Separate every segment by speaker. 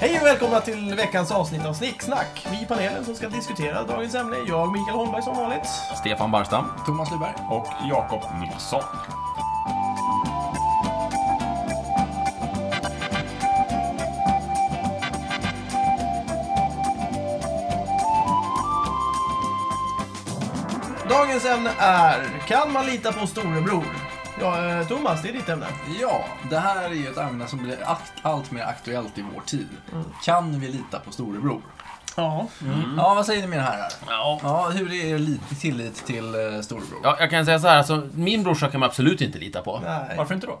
Speaker 1: Hej och välkomna till veckans avsnitt av Snicksnack. Vi i panelen som ska diskutera dagens ämne är jag, Mikael Holmberg, som vanligt.
Speaker 2: Stefan Barstam.
Speaker 3: Thomas Lyberg.
Speaker 4: och Jakob Nilsson.
Speaker 1: Dagens ämne är Kan man lita på storebror? Ja, eh, Thomas, det är ditt ämne.
Speaker 3: Ja, det här är ju ett ämne som blir akt, allt mer aktuellt i vår tid. Kan vi lita på storebror? Mm.
Speaker 1: Ja.
Speaker 3: Ja, vad säger ni mina herrar?
Speaker 2: Ja.
Speaker 3: Ja, hur är er lit- tillit till eh, storebror?
Speaker 2: Ja, jag kan säga så här, alltså, min brorsa kan man absolut inte lita på. Nej,
Speaker 1: Nej.
Speaker 4: Varför inte då?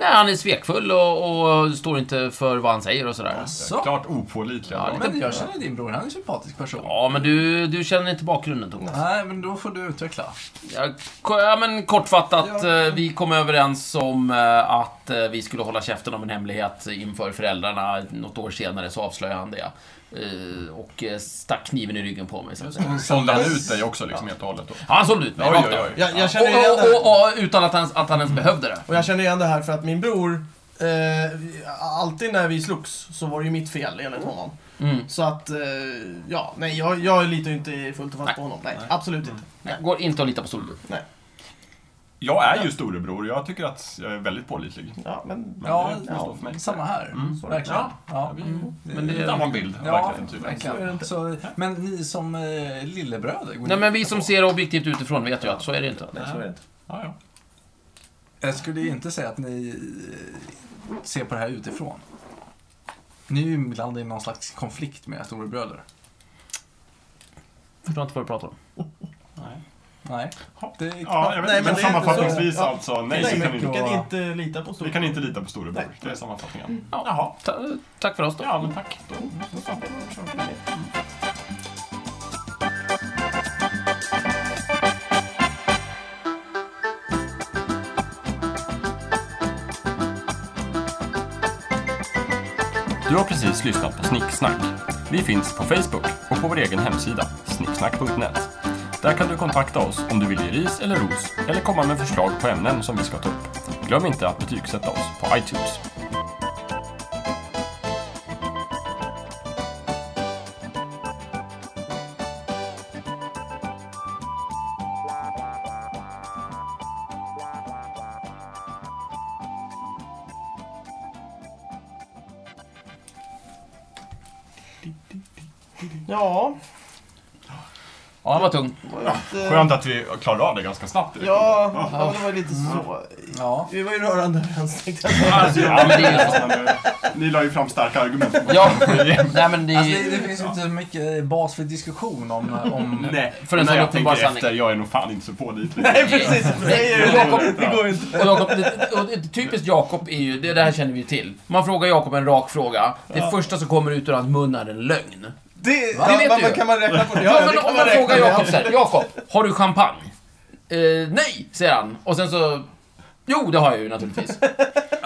Speaker 2: han är svekfull och, och står inte för vad han säger och sådär.
Speaker 3: Så.
Speaker 4: Klart opålitliga.
Speaker 2: Ja,
Speaker 4: Ja,
Speaker 3: Men jag känner din bror, han är en sympatisk person.
Speaker 2: Ja, men du, du känner inte bakgrunden, Thomas.
Speaker 3: Nej, men då får du utveckla.
Speaker 2: Ja, ko- ja, men kortfattat,
Speaker 3: Ja.
Speaker 2: eh, vi kom överens om eh, att eh, vi skulle hålla käften om en hemlighet inför föräldrarna. Något år senare så avslöjade han det. Eh, Och eh, stack kniven i ryggen på mig, så att säga.
Speaker 4: Sålde han ut dig också liksom helt och hållet då?
Speaker 2: Ja, han sålde ut mig,
Speaker 4: Oj,
Speaker 2: rakt
Speaker 4: oj,
Speaker 2: av.
Speaker 4: oj.
Speaker 1: Jag, jag känner igen det
Speaker 2: Och,
Speaker 1: här.
Speaker 2: och, och, och utan att han, att han ens behövde det.
Speaker 1: Och jag känner igen det här för att min bror, eh, alltid när vi slogs så var det ju mitt fel enligt honom.
Speaker 2: Mm.
Speaker 1: Så att, eh, ja, nej, jag, jag litar ju inte fullt och fast
Speaker 2: Nej. Mm.
Speaker 1: på honom. Nej, absolut inte.
Speaker 2: Nej, Går inte att lita på storebror.
Speaker 1: Nej.
Speaker 4: Jag är ju storebror. Jag tycker att jag är väldigt pålitlig.
Speaker 1: Ja, men...
Speaker 4: Men
Speaker 3: Ja,
Speaker 4: det får stå för mig. Mm.
Speaker 3: samma här. Verkligen.
Speaker 4: Ja.
Speaker 3: Ja. Mm.
Speaker 4: Men det är en annan typ. bild av
Speaker 3: Ja,
Speaker 4: verkligheten tydligen.
Speaker 3: verkligen. Så, men ni som eh, lillebröder? går
Speaker 2: Nej
Speaker 3: ni
Speaker 2: men vi
Speaker 3: lita
Speaker 2: som
Speaker 3: på?
Speaker 2: ser objektivt utifrån vet ju att så är det inte.
Speaker 1: Nej, så är det inte.
Speaker 4: Ja, ja.
Speaker 3: Jag skulle ju inte säga att ni eh, ser på det här utifrån. Ni är ju ibland i någon slags konflikt med era storebröder.
Speaker 2: Förstår inte vad du pratar om.
Speaker 3: Nej. Det är
Speaker 4: ja jag vet
Speaker 1: Nej, men
Speaker 4: inte. Men
Speaker 1: det är inte
Speaker 4: sammanfattningsvis
Speaker 1: så.
Speaker 4: alltså, nej,
Speaker 1: Nej,
Speaker 4: så
Speaker 1: men
Speaker 4: kan
Speaker 1: vi
Speaker 4: vi, inte,
Speaker 1: kan inte lita på
Speaker 4: vi
Speaker 1: storebror.
Speaker 4: kan inte lita på storebror.
Speaker 1: Nej.
Speaker 4: Det är sammanfattningen.
Speaker 2: Ja.
Speaker 4: Jaha.
Speaker 2: Ta tack för oss då.
Speaker 4: Ja, men tack. Mm. Då.
Speaker 5: Du har precis lyssnat på Snicksnack. Vi finns på Facebook och på vår egen hemsida, snicksnack.net. Där kan du kontakta oss om du vill ge ris eller ros eller komma med förslag på ämnen som vi ska ta upp. Glöm inte att betygsätta oss på iTunes.
Speaker 1: Ja,
Speaker 2: Ja, det var tungt.
Speaker 1: att, eh,
Speaker 4: Skönt att vi klarade av det ganska snabbt.
Speaker 1: Ja, ja, det var ju lite så.
Speaker 3: Ja.
Speaker 1: Vi var ju rörande överens tänkte jag säga.
Speaker 4: Alltså, ja, men det är ju- Ni la ju fram starka argument.
Speaker 2: Ja, nej men det...
Speaker 3: Alltså, det, det finns ju inte så mycket bas för diskussion om... eh, om
Speaker 4: Nej,
Speaker 2: För en
Speaker 4: när
Speaker 2: sån
Speaker 4: jag
Speaker 2: uppenbar
Speaker 4: tänker
Speaker 2: sanning.
Speaker 4: efter, jag är nog fan inte så pålitlig.
Speaker 1: Nej, precis. Det, är ju,
Speaker 2: Jakob-
Speaker 1: det går ju inte.
Speaker 2: Och Jakob, det- och det- typiskt Jakob är ju, det, det här känner vi ju till. Man frågar Jakob en rak fråga. Det första som kommer ut ur hans mun är en lögn.
Speaker 1: Det,
Speaker 2: Va?
Speaker 1: ja,
Speaker 2: Det vet
Speaker 1: men
Speaker 2: du
Speaker 1: man-
Speaker 2: ju.
Speaker 1: kan man räkna på det?
Speaker 2: Ja,
Speaker 1: det
Speaker 2: men
Speaker 1: kan
Speaker 2: om man
Speaker 1: räkna
Speaker 2: frågar
Speaker 1: på.
Speaker 2: Jakob så här, Jakob, har du champagne? Eh, nej, säger han. Och sen så... Jo, det har jag ju naturligtvis.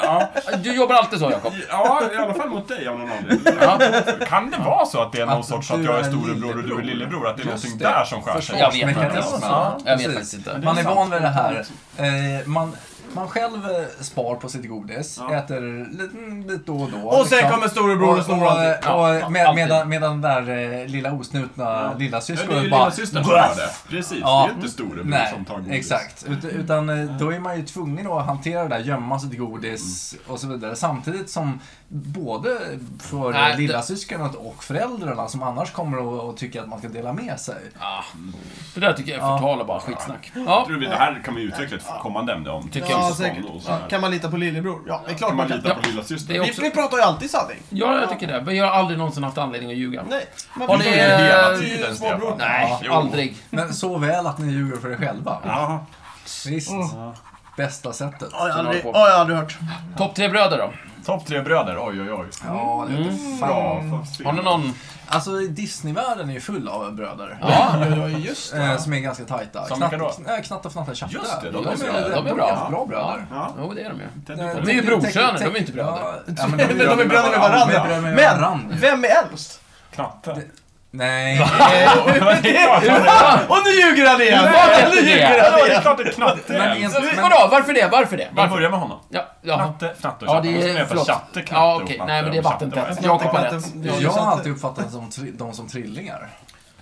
Speaker 4: Ja.
Speaker 2: Du jobbar alltid så, Jakob.
Speaker 4: Ja, i alla fall mot dig av någon anledning. Kan det vara så att det är någon
Speaker 3: Att
Speaker 4: sorts att
Speaker 3: du
Speaker 4: jag är
Speaker 3: är
Speaker 4: storebror och du är
Speaker 3: lillebror?
Speaker 4: lillebror? Att det är
Speaker 3: Just
Speaker 4: någonting
Speaker 3: det.
Speaker 4: där som skär sig?
Speaker 2: Jag vet inte.
Speaker 3: Försvarsmekanismen.
Speaker 2: Ja, jag vet
Speaker 3: precis.
Speaker 2: faktiskt inte.
Speaker 3: Man är van vid det här. Eh, man, man själv eh, spar på sitt godis, äter lite, lite då och då.
Speaker 1: Och sen kommer storebror och snor alltid.
Speaker 3: och, och,
Speaker 2: Ja,
Speaker 3: med,
Speaker 2: alltid.
Speaker 3: medan, medan den där eh, lilla osnutna lilla
Speaker 4: Ja, Det är ju
Speaker 3: syskonet bara...
Speaker 4: lillasystern som gör det. Precis, det är
Speaker 3: Ja.
Speaker 4: ju inte storebror
Speaker 3: Nej,
Speaker 4: som tar godis.
Speaker 3: exakt. Ut, utan eh, då är man ju tvungen att hantera det där, gömma sitt godis och så vidare. Samtidigt som både för
Speaker 2: Nej,
Speaker 3: äh,
Speaker 2: det-
Speaker 3: lillasyskonet och föräldrarna som annars kommer att och tycker att man ska dela med sig.
Speaker 2: Ah, det där tycker jag är förtal och bara skitsnack. Ja,
Speaker 4: Jag tror vi, det här kan vi utveckla ett kommande ämne om.
Speaker 2: Tycker
Speaker 1: Ja,
Speaker 2: jag.
Speaker 4: syskon
Speaker 1: säkert.
Speaker 4: och så
Speaker 1: Ja,
Speaker 4: här.
Speaker 1: kan man lita på lillebror? Ja, det är klart
Speaker 4: Kan
Speaker 1: man
Speaker 4: man
Speaker 1: kan.
Speaker 4: lita på
Speaker 2: Ja. Det är
Speaker 4: lillasystern?
Speaker 1: Vi, vi pratar ju alltid sanning.
Speaker 2: ja, jag tycker det. Men jag har aldrig någonsin haft anledning att ljuga.
Speaker 1: Nej. Men
Speaker 2: Har
Speaker 1: vi-
Speaker 2: ni,
Speaker 1: vi är ju
Speaker 2: eh,
Speaker 4: tiden,
Speaker 1: småbror.
Speaker 4: Stefan?
Speaker 2: Nej,
Speaker 4: Jo.
Speaker 2: aldrig.
Speaker 3: Men så väl att ni ljuger för er själva.
Speaker 4: Ja,
Speaker 3: Visst.
Speaker 2: Mm.
Speaker 3: Bästa sättet.
Speaker 1: Ja, jag har aldrig-
Speaker 2: Som
Speaker 1: ja,
Speaker 2: har
Speaker 1: jag har aldrig hört.
Speaker 2: Topp tre bröder då?
Speaker 4: topp tre bröder, oj oj oj.
Speaker 3: Ja, det
Speaker 2: Mm.
Speaker 3: vete fan.
Speaker 4: Bra, fast
Speaker 2: Har ni någon?
Speaker 3: Alltså Disneyvärlden är ju full av bröder.
Speaker 2: Ja.
Speaker 1: Ja, just det.
Speaker 3: Eh, som är ganska tajta.
Speaker 4: Som
Speaker 3: Knatt,
Speaker 4: vilka då?
Speaker 3: kn- äh, knatta, fnatta, tjatta.
Speaker 4: Just det, de är
Speaker 3: Ja,
Speaker 2: bra.
Speaker 3: det-
Speaker 2: De är bra.
Speaker 3: jättebra bröder.
Speaker 2: Ja. Jo, det är de ju.
Speaker 3: Eh,
Speaker 2: De är ju
Speaker 3: det-
Speaker 2: brorsöner,
Speaker 3: teck-
Speaker 2: de är inte bröder.
Speaker 3: Ja, ja, men
Speaker 1: Men de är bröder med
Speaker 3: Ja, de är
Speaker 1: varandra.
Speaker 3: bröder med varandra.
Speaker 1: Men, vem är äldst?
Speaker 4: Knatte.
Speaker 3: Nej.
Speaker 1: Och nu ljuger han igen!
Speaker 2: Vad hette
Speaker 1: Nu ljuger
Speaker 2: det?
Speaker 1: han
Speaker 4: Ja, det är
Speaker 1: igen.
Speaker 4: klart det är knatte
Speaker 3: Men
Speaker 4: är.
Speaker 3: ens-
Speaker 2: Men,
Speaker 3: men-
Speaker 2: vadå, varför det? Varför det?
Speaker 4: Vi
Speaker 2: Varför?
Speaker 4: börjar med honom.
Speaker 2: Ja, jaha.
Speaker 4: Knatte, fnatte och
Speaker 2: Ja,
Speaker 4: tjatte.
Speaker 2: det
Speaker 4: Ja,
Speaker 2: är-
Speaker 4: det är...
Speaker 2: förlåt.
Speaker 4: Tjatte, knatte
Speaker 2: Ja, okej.
Speaker 4: och fnatte
Speaker 2: Nej, men det är
Speaker 4: och tjatte.
Speaker 2: vattentätt.
Speaker 4: Ja,
Speaker 2: Jag kom på rätt.
Speaker 3: Jag har alltid uppfattat dem som, tri- de som trillingar.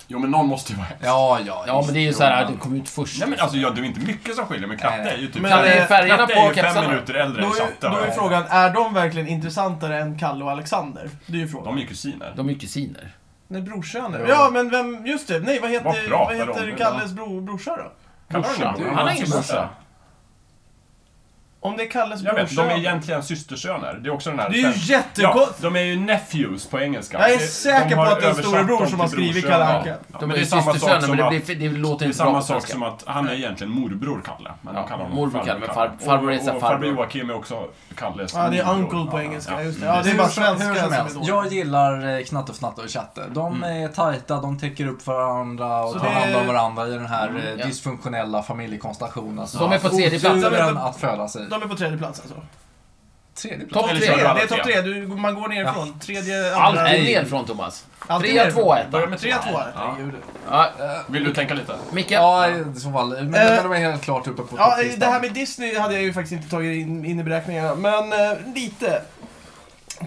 Speaker 5: Jo, men någon måste ju vara hemsk.
Speaker 3: Ja, ja.
Speaker 2: Ja, men det är ju
Speaker 3: visst,
Speaker 2: så här,
Speaker 3: jo,
Speaker 2: det kom ut först.
Speaker 4: Nej, men alltså, ja, det är inte mycket som skiljer, men knatte är ju typ...
Speaker 1: Men,
Speaker 4: fem-
Speaker 1: eh,
Speaker 2: färgerna
Speaker 4: knatte
Speaker 2: på
Speaker 4: är ju
Speaker 2: kepsarna.
Speaker 4: fem minuter äldre
Speaker 1: Då
Speaker 4: än
Speaker 1: är,
Speaker 4: tjatte.
Speaker 1: då är
Speaker 4: va?
Speaker 1: frågan, är de verkligen intressantare än Kalle och Alexander? Det är ju frågan.
Speaker 4: De är ju kusiner.
Speaker 2: De är ju kusiner.
Speaker 1: Nej, brorsöner.
Speaker 3: Ja.
Speaker 1: Ja, men vem, just det. Nej, vad
Speaker 4: Vad
Speaker 1: heter, vad
Speaker 4: pratar de
Speaker 1: heter
Speaker 4: om?
Speaker 1: Kalles bro, brorsa då?
Speaker 4: Kallar de
Speaker 2: Brorsa.
Speaker 4: dem?
Speaker 3: Du,
Speaker 2: Han har
Speaker 3: hans
Speaker 2: ingen
Speaker 3: brorsa.
Speaker 2: brorsa.
Speaker 1: Om det är Kalles
Speaker 4: Jag vet, de
Speaker 1: brorsa.
Speaker 4: är egentligen systersöner. Det är också den här...
Speaker 1: Det är ju
Speaker 4: Ja,
Speaker 1: jättekonstigt.
Speaker 4: de är ju nephews på engelska.
Speaker 1: Jag är
Speaker 4: Det-
Speaker 1: säker
Speaker 4: de
Speaker 1: på
Speaker 4: har
Speaker 1: att det är
Speaker 4: översatt
Speaker 1: storebror
Speaker 4: dem
Speaker 1: som har
Speaker 4: till
Speaker 1: skrivit
Speaker 4: brorsöner.
Speaker 1: Kalle Anka.
Speaker 4: Ja,
Speaker 2: De
Speaker 4: men
Speaker 2: är
Speaker 4: det
Speaker 2: ju
Speaker 4: samma sak
Speaker 2: systersöner, men
Speaker 4: som
Speaker 2: det,
Speaker 4: att-
Speaker 2: blir- det, låter
Speaker 4: Det är
Speaker 2: inte bra
Speaker 4: samma
Speaker 2: på
Speaker 4: sak
Speaker 2: svenska.
Speaker 4: som att han är egentligen morbror Kalle. Men
Speaker 2: Ja,
Speaker 4: de kallar honom
Speaker 2: morbror Kalle, men far-
Speaker 4: Och-
Speaker 2: farbror är så här
Speaker 4: Och farbror
Speaker 2: farbror.
Speaker 4: Joakim är också Kalles
Speaker 1: Ja, det är
Speaker 4: morbror.
Speaker 1: uncle på engelska.
Speaker 4: Ja,
Speaker 1: Just det. Ja, det är
Speaker 3: Hur
Speaker 1: bara
Speaker 3: som-
Speaker 1: svenska
Speaker 3: hur
Speaker 1: som
Speaker 3: som
Speaker 1: är
Speaker 3: helst.
Speaker 1: dåligt.
Speaker 3: Jag gillar eh, Knatte och Fnatte och Tjatte. De
Speaker 2: Mm.
Speaker 3: är tajta, de täcker upp för varandra och
Speaker 1: Så
Speaker 3: tar
Speaker 1: det-
Speaker 3: hand om varandra i den här eh,
Speaker 2: Mm, ja.
Speaker 3: dysfunktionella familjekonstellationen. som
Speaker 2: De är på tredje plats.
Speaker 3: Oturen att födas i.
Speaker 1: De är på tredje plats alltså.
Speaker 3: Tredje plats.
Speaker 2: Topp
Speaker 4: Eller
Speaker 1: Tre,
Speaker 2: tre.
Speaker 4: kör alla
Speaker 1: det är topp
Speaker 4: tre.
Speaker 1: tre. Du, man går nerifrån. Tredje,
Speaker 2: Allt
Speaker 1: andra.
Speaker 2: är ner från Thomas.
Speaker 1: Alltid
Speaker 2: Trea,
Speaker 1: nerifrån.
Speaker 2: tvåa, etta.
Speaker 1: Börja med trea, tvåa, etta.
Speaker 4: Ja.
Speaker 2: Ja,
Speaker 4: Vill du tänka lite?
Speaker 2: Micke?
Speaker 3: Ja, i så fall. Men,
Speaker 1: Eh,
Speaker 3: men de är helt klart uppe på
Speaker 1: Ja,
Speaker 3: topplistan.
Speaker 1: det här med Disney hade jag ju faktiskt inte tagit in, in i beräkningarna, men eh, lite.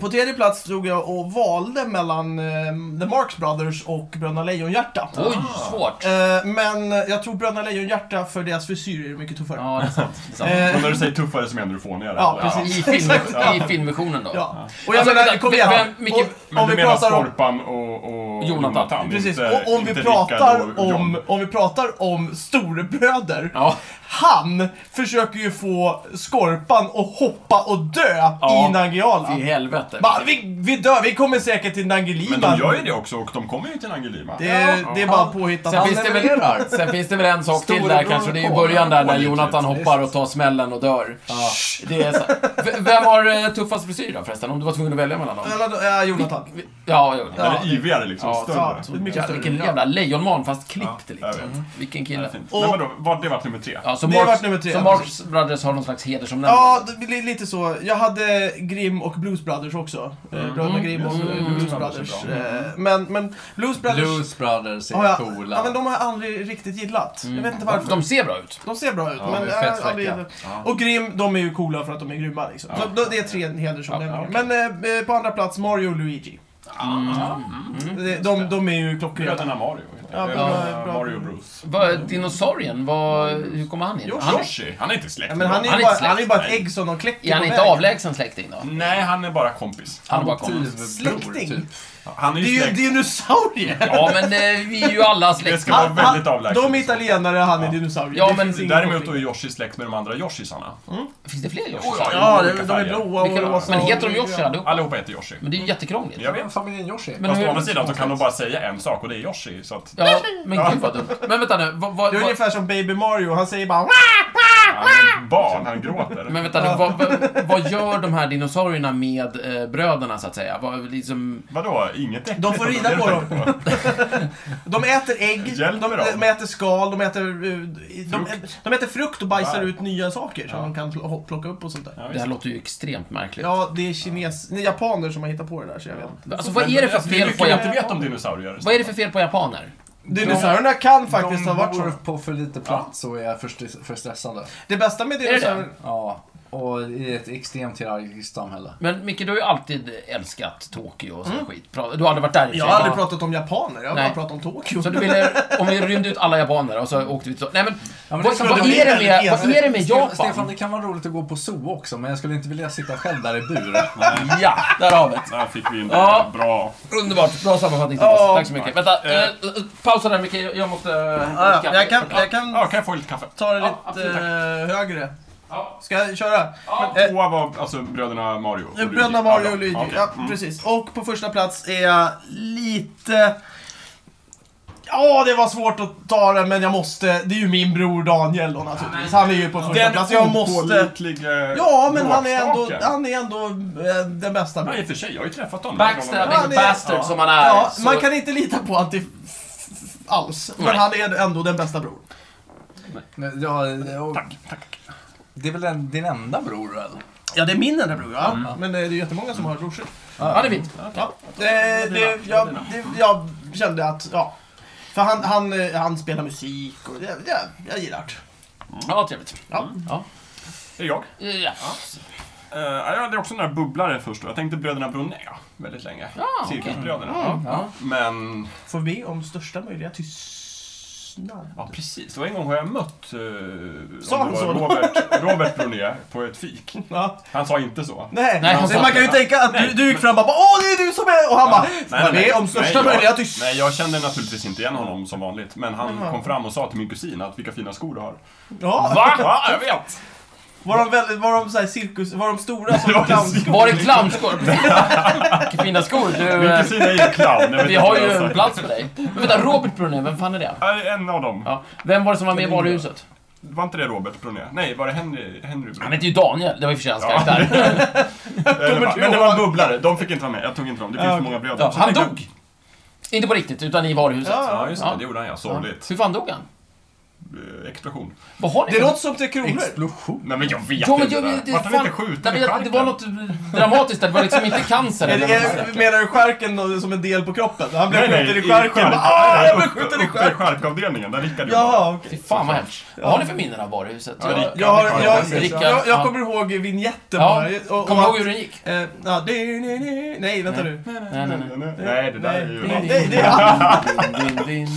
Speaker 1: På tredje plats stod jag och valde mellan eh, The Marx Brothers och Bröderna Lejonhjärta.
Speaker 2: Oj, svårt.
Speaker 1: Eh, men jag tror Bröderna Lejonhjärta, för deras frisyrer är mycket tuffare.
Speaker 2: Ja, det är sant. Det är sant.
Speaker 1: Eh,
Speaker 4: Och när du säger tuffare så menar du fånigare?
Speaker 1: Ja,
Speaker 4: eller?
Speaker 1: precis.
Speaker 2: Alltså, I, film,
Speaker 1: exakt.
Speaker 2: I filmversionen då?
Speaker 1: ja. Och jag
Speaker 2: Alltså,
Speaker 1: menar,
Speaker 2: vänta,
Speaker 1: kom igen.
Speaker 2: vem- Micke-
Speaker 1: Och-
Speaker 4: Men
Speaker 1: om
Speaker 4: du
Speaker 1: vi
Speaker 4: menar
Speaker 1: pratar om...
Speaker 4: Skorpan och, och
Speaker 2: Jonathan.
Speaker 4: Jonathan
Speaker 1: Precis,
Speaker 4: inte-
Speaker 1: och om vi,
Speaker 4: inte Rickard
Speaker 1: pratar
Speaker 4: och John.
Speaker 1: om, om vi pratar om storebröder.
Speaker 2: Ja.
Speaker 1: Han försöker ju få Skorpan att hoppa och dö
Speaker 2: Ja.
Speaker 1: i Nangijala.
Speaker 2: I helvete.
Speaker 1: Bara, vi, vi dör, vi kommer säkert till Nangilima.
Speaker 4: Men de gör ju det också och de kommer ju till Nangilima.
Speaker 1: Det, är- det är bara påhittat.
Speaker 2: Sen
Speaker 3: Han
Speaker 2: finns, det väl,
Speaker 3: levererar.
Speaker 2: sen finns det väl en sak till där
Speaker 3: Storebror
Speaker 2: kanske. Det är ju
Speaker 3: på.
Speaker 2: början där när
Speaker 4: Pålitligt.
Speaker 2: Jonathan hoppar och tar smällen och dör. Det är så. V- Vem har eh, tuffast frisyr då förresten? Om du var tvungen att välja mellan dem?
Speaker 1: Eller, ja, Jonathan.
Speaker 2: Ja, jo.
Speaker 1: Ja.
Speaker 4: Eller ivigare liksom,
Speaker 2: Ja,
Speaker 4: större.
Speaker 1: så- mycket
Speaker 2: Ja,
Speaker 1: större.
Speaker 2: vilken jävla lejonman fast klippt
Speaker 4: jag
Speaker 2: liksom.
Speaker 4: vet.
Speaker 2: Vilken
Speaker 4: Det är
Speaker 2: kille.
Speaker 4: fint.
Speaker 1: Och-
Speaker 4: Nej, men då, var, det var nummer tre.
Speaker 2: Ja, så
Speaker 1: Det har
Speaker 2: Marx,
Speaker 1: varit nummer tre,
Speaker 2: så
Speaker 1: ja,
Speaker 2: Marx Brothers har någon slags hedersomnämnande.
Speaker 1: Ja, det blir lite så. Jag hade Grimm och Blues Brothers också. Mm. Bröderna Grimm och
Speaker 4: Mm.
Speaker 1: eh, Blues
Speaker 4: Mm.
Speaker 1: Brothers.
Speaker 4: Mm.
Speaker 1: Eh, Men, men Blues Brothers
Speaker 3: Blues Brothers är
Speaker 1: har jag,
Speaker 3: coola.
Speaker 1: ja, men de har jag aldrig riktigt gillat. Jag vet inte varför.
Speaker 2: Mm. De ser bra ut.
Speaker 1: De ser bra ut,
Speaker 3: Ja,
Speaker 1: men
Speaker 3: de är
Speaker 1: jag
Speaker 3: fett
Speaker 1: har aldrig
Speaker 3: fräcka.
Speaker 1: gillat. Och Grimm, de är ju coola för att de är grymma liksom. Så då- det är tre hedersomnämningar.
Speaker 4: Ja,
Speaker 1: Men eh, eh, på andra plats, Mario och Luigi.
Speaker 2: Mm.
Speaker 1: De, de, de är ju klockrena.
Speaker 4: Bröderna Mario.
Speaker 1: Ja,
Speaker 4: Ja,
Speaker 1: bra- bra.
Speaker 4: Mario Bruce.
Speaker 2: Vad, dinosaurien, vad, hur kommer han in?
Speaker 1: Jo,
Speaker 2: Han,
Speaker 4: Yoshi, han är inte släkt.
Speaker 1: Ja, men han är
Speaker 2: Han
Speaker 1: ju
Speaker 2: är
Speaker 1: bara,
Speaker 2: inte släkt,
Speaker 1: han är ju bara ett
Speaker 4: nej.
Speaker 1: ägg som de kläcker
Speaker 2: är han
Speaker 1: på
Speaker 2: inte
Speaker 1: vägen.
Speaker 2: avlägsen släkting då?
Speaker 4: Nej, han är bara kompis.
Speaker 2: Han bara kommer.
Speaker 3: Adoptivbror,
Speaker 1: Släkting.
Speaker 3: typ.
Speaker 4: Han är
Speaker 1: Det är
Speaker 4: ju
Speaker 1: ju en
Speaker 4: släkt.
Speaker 1: dinosaurie!
Speaker 2: Ja, men eh, vi är ju alla
Speaker 4: Det
Speaker 2: släktingar.
Speaker 4: ska vara väldigt avlägset.
Speaker 1: De är italienare, han är dinosaurie.
Speaker 2: Ja,
Speaker 1: Det
Speaker 2: men
Speaker 1: finns ingen
Speaker 4: Däremot då är
Speaker 1: konflikt.
Speaker 4: Yoshi släkt med de andra Yoshisarna.
Speaker 2: Finns det fler
Speaker 4: Oh, ja,
Speaker 2: Yoshis?
Speaker 1: Ja,
Speaker 4: olika
Speaker 1: det- de är
Speaker 4: färger.
Speaker 1: blåa och
Speaker 2: Vilka då?
Speaker 1: rosa.
Speaker 2: Men
Speaker 1: och-
Speaker 2: heter de Yoshi allihopa?
Speaker 4: Allihopa heter Yoshi.
Speaker 2: Men det är ju jättekrångligt.
Speaker 4: Jag vet.
Speaker 3: Familjen Yoshi.
Speaker 2: Men
Speaker 4: Fast
Speaker 2: hur-
Speaker 4: å andra sidan så kan de bara säga en sak och det är Yoshi. Så att,
Speaker 2: Ja, men gud vad dumt. Men vänta nu, vad, vad,
Speaker 1: Det är
Speaker 2: vad,
Speaker 1: ungefär som Baby Mario, han säger bara
Speaker 4: han är ett barn, han gråter.
Speaker 2: men vänta nu, vad, vad, vad gör de här dinosaurierna med eh, bröderna så att säga? Vad, liksom,
Speaker 4: Vadå, inget äckligt?
Speaker 1: De får rida
Speaker 4: Det är
Speaker 1: på
Speaker 4: det
Speaker 1: dem.
Speaker 4: jag tänkte på.
Speaker 1: De äter ägg, de,
Speaker 4: Hjälper dem.
Speaker 1: de äter skal, de äter, eh, de, de äter frukt och bajsar
Speaker 4: Nej.
Speaker 1: ut nya saker som de kan pl- plocka upp och sånt där.
Speaker 4: Ja,
Speaker 2: det här
Speaker 4: visst.
Speaker 2: låter ju extremt märkligt.
Speaker 1: Ja, det är kines... nej, japaner som har hittat på det där, så jag vet inte.
Speaker 2: Alltså vad är det för
Speaker 4: Alltså, det är
Speaker 2: fel
Speaker 4: mycket
Speaker 2: på
Speaker 4: vi inte
Speaker 2: japaner?
Speaker 4: vet om dinosaurier.
Speaker 2: Vad är det för fel på japaner?
Speaker 1: Dinosaurierna kan faktiskt
Speaker 3: de
Speaker 1: ha varit
Speaker 3: bor
Speaker 1: så.
Speaker 3: på för lite plats och är för, stres- för stressade.
Speaker 1: Det bästa med
Speaker 2: det
Speaker 1: dinosaurier...
Speaker 3: Ja, och i ett extremt hierarkiskt samhälle.
Speaker 2: Men Micke, du har ju alltid älskat Tokyo och sån skit. Pra- Du har aldrig varit där i och för
Speaker 1: Jag
Speaker 2: sig.
Speaker 1: har aldrig pratat om japaner, jag har bara
Speaker 2: Nej.
Speaker 1: pratat om Tokyo.
Speaker 2: Så du ville, om vi rymde ut alla japaner och så åkte vi till... Nej men,
Speaker 3: men det
Speaker 2: vad,
Speaker 3: skulle
Speaker 2: vad,
Speaker 1: bli
Speaker 2: är det
Speaker 1: väldigt
Speaker 2: med, vad är det med
Speaker 3: Ste-
Speaker 2: Japan?
Speaker 3: Stefan, det kan vara roligt att gå på zoo också, men jag skulle inte vilja sitta själv där i bur.
Speaker 2: Ja, där har vi det.
Speaker 4: Där fick vi in
Speaker 2: Ja.
Speaker 4: det. Bra.
Speaker 2: Underbart, bra sammanfattning Thomas.
Speaker 1: Ja.
Speaker 2: Tack så mycket. Vänta,
Speaker 4: Eh.
Speaker 2: eh, pausa där Micke, jag jag måste... eh,
Speaker 1: Ja, ja, jag, kan, jag kan
Speaker 4: Ja, kan jag få lite kaffe?
Speaker 1: ta det
Speaker 4: Ja,
Speaker 1: lite
Speaker 4: absolut, tack.
Speaker 1: eh, högre.
Speaker 4: Ja.
Speaker 1: Ska jag köra?
Speaker 4: Men Tvåa var alltså bröderna Mario och Luigi.
Speaker 1: Eh. Bröderna Mario
Speaker 4: Ja,
Speaker 1: och Luigi.
Speaker 4: okej. Mm.
Speaker 1: Ja, precis. Och på första plats är jag lite... Ja, det var svårt att ta den, men jag måste. Det är ju min bror Daniel då naturligtvis. Han är ju på första
Speaker 4: Den
Speaker 1: plats. Jag måste...
Speaker 4: opålitliga
Speaker 1: Ja, men han är ändå,
Speaker 4: bråkstaken.
Speaker 1: han är ändå eh, den bästa
Speaker 4: Ja,
Speaker 1: bror.
Speaker 4: i och för sig. Jag har ju träffat honom.
Speaker 1: Ja, han
Speaker 2: Backstabbing
Speaker 1: är-
Speaker 2: bastard
Speaker 4: ja.
Speaker 2: som han är.
Speaker 1: Ja,
Speaker 2: så-
Speaker 1: man kan inte lita på att det f- f- alls. Men
Speaker 2: Nej.
Speaker 1: han är ändå den bästa bror.
Speaker 3: Men, Ja, och, Det är väl en, din enda bror, eller?
Speaker 1: Ja, det är min enda bror, ja. Men eh, det är ju jättemånga som har brorsor.
Speaker 2: Ja, det är fint.
Speaker 1: Ja, det, det, jag, det, jag kände att, ja. För han, han, eh, han spelar musik och ja, ja, jag gillar det.
Speaker 2: Ja, trevligt.
Speaker 1: Ja.
Speaker 2: Ja.
Speaker 4: Är det jag?
Speaker 2: Ja.
Speaker 4: Eh, jag hade också några bubblare först då. Jag tänkte Bröderna Brunner väldigt länge.
Speaker 2: Ja, Ah, okej. Mm,
Speaker 4: Cirkusbröderna.
Speaker 3: Ja.
Speaker 4: Men
Speaker 1: Får vi be om största möjliga tystnad?
Speaker 4: Ja, precis. Och en gång har jag mött eh,
Speaker 1: Sa
Speaker 4: om det
Speaker 1: han
Speaker 4: var
Speaker 1: så?
Speaker 4: Robert, Robert Brunier på ett fik.
Speaker 1: Ja.
Speaker 4: Han sa inte så.
Speaker 1: Nej,
Speaker 2: Nej, han
Speaker 1: Så
Speaker 2: sa
Speaker 1: man kan ju
Speaker 4: inte.
Speaker 1: tänka att du, du gick fram och bara Åh, det är du som är... Och han bara Får vi be om största
Speaker 4: nej,
Speaker 1: möjliga
Speaker 4: jag,
Speaker 1: tystnad?
Speaker 4: nej, jag kände naturligtvis inte igen honom som vanligt. Men han
Speaker 1: Jaha.
Speaker 4: kom fram och sa till min kusin att vilka fina skor du
Speaker 2: Eh,
Speaker 4: har.
Speaker 1: Ja.
Speaker 4: Ja, jag vet!
Speaker 1: Var de, väldigt, var de så här cirkus... Var de stora som
Speaker 4: Det var
Speaker 1: clownskor?
Speaker 2: Var det clownskor? Vilka fina skor. Du,
Speaker 4: Min
Speaker 2: eh,
Speaker 4: kusin är alltså? ju clown. jag vet
Speaker 2: vi
Speaker 4: inte
Speaker 2: har
Speaker 4: vad
Speaker 2: ju
Speaker 4: jag
Speaker 2: en
Speaker 4: sagt.
Speaker 2: plats för dig. Men vänta, Robert Brunner, vem fan är det?
Speaker 4: Ja, En av dem.
Speaker 2: Ja. Vem var det som var med i varuhuset?
Speaker 4: Var inte det Robert Brunier? Nej, var det Henry, Henry
Speaker 2: Han
Speaker 4: Brunier?
Speaker 2: heter ju Daniel, det var i och för sig hans
Speaker 4: Ja.
Speaker 2: karaktär.
Speaker 4: Eh, det var-
Speaker 1: du
Speaker 4: Men det
Speaker 1: ihåg?
Speaker 4: var en bubblare. De fick inte vara med. Jag tog inte dem. Det finns
Speaker 1: Ja,
Speaker 4: för många bröder.
Speaker 2: Ja,
Speaker 4: Så
Speaker 2: han
Speaker 4: tänkte jag-
Speaker 2: dog! Inte på riktigt, utan i varuhuset.
Speaker 1: Ja.
Speaker 4: Ja, just det.
Speaker 2: Ja.
Speaker 4: Det gjorde han ja. Sorgligt.
Speaker 2: Hur fan dog han?
Speaker 4: Eh, Explosion.
Speaker 2: Vad har ni?
Speaker 1: Det låter som Tre Kronor.
Speaker 3: Explosion.
Speaker 4: Nej, men jag vet
Speaker 2: Jo, men
Speaker 4: inte.
Speaker 2: jag,
Speaker 4: det där.
Speaker 2: det,
Speaker 4: Vart
Speaker 2: fan-
Speaker 4: han inte skjuten i
Speaker 2: Nej, men det, det var
Speaker 4: stjärten?
Speaker 2: något dramatiskt där, det var liksom inte cancer
Speaker 1: Är
Speaker 2: eller
Speaker 1: det,
Speaker 2: något
Speaker 1: är,
Speaker 2: sånt där.
Speaker 1: menar du skärken då, som en del på kroppen? Han blev
Speaker 4: Nej, nej,
Speaker 1: skjuten i skärken. Bara, Ah, jag blev skjuten i
Speaker 4: Uppe i
Speaker 1: skärken.
Speaker 4: charkavdelningen, där Rickard
Speaker 1: Jaha, okej.
Speaker 2: Fy fan vad hemskt. Vad har ni för minnen av varuhuset?
Speaker 4: Ja,
Speaker 2: Jag-
Speaker 4: Rickard.
Speaker 1: Jag, har- jag,
Speaker 2: Rickard,
Speaker 1: jag, jag,
Speaker 2: ja.
Speaker 1: jag kommer ihåg vignetten
Speaker 2: Ja,
Speaker 1: bara. Och, och,
Speaker 2: Kommer du ihåg
Speaker 1: att-
Speaker 2: hur den gick?
Speaker 1: eh, ja, det- nej, nej, nej, vänta nu.
Speaker 2: Nej, nej, nej.
Speaker 4: jobbade. Nej, det där är ju...
Speaker 1: Nej, det- det är
Speaker 2: Din, din,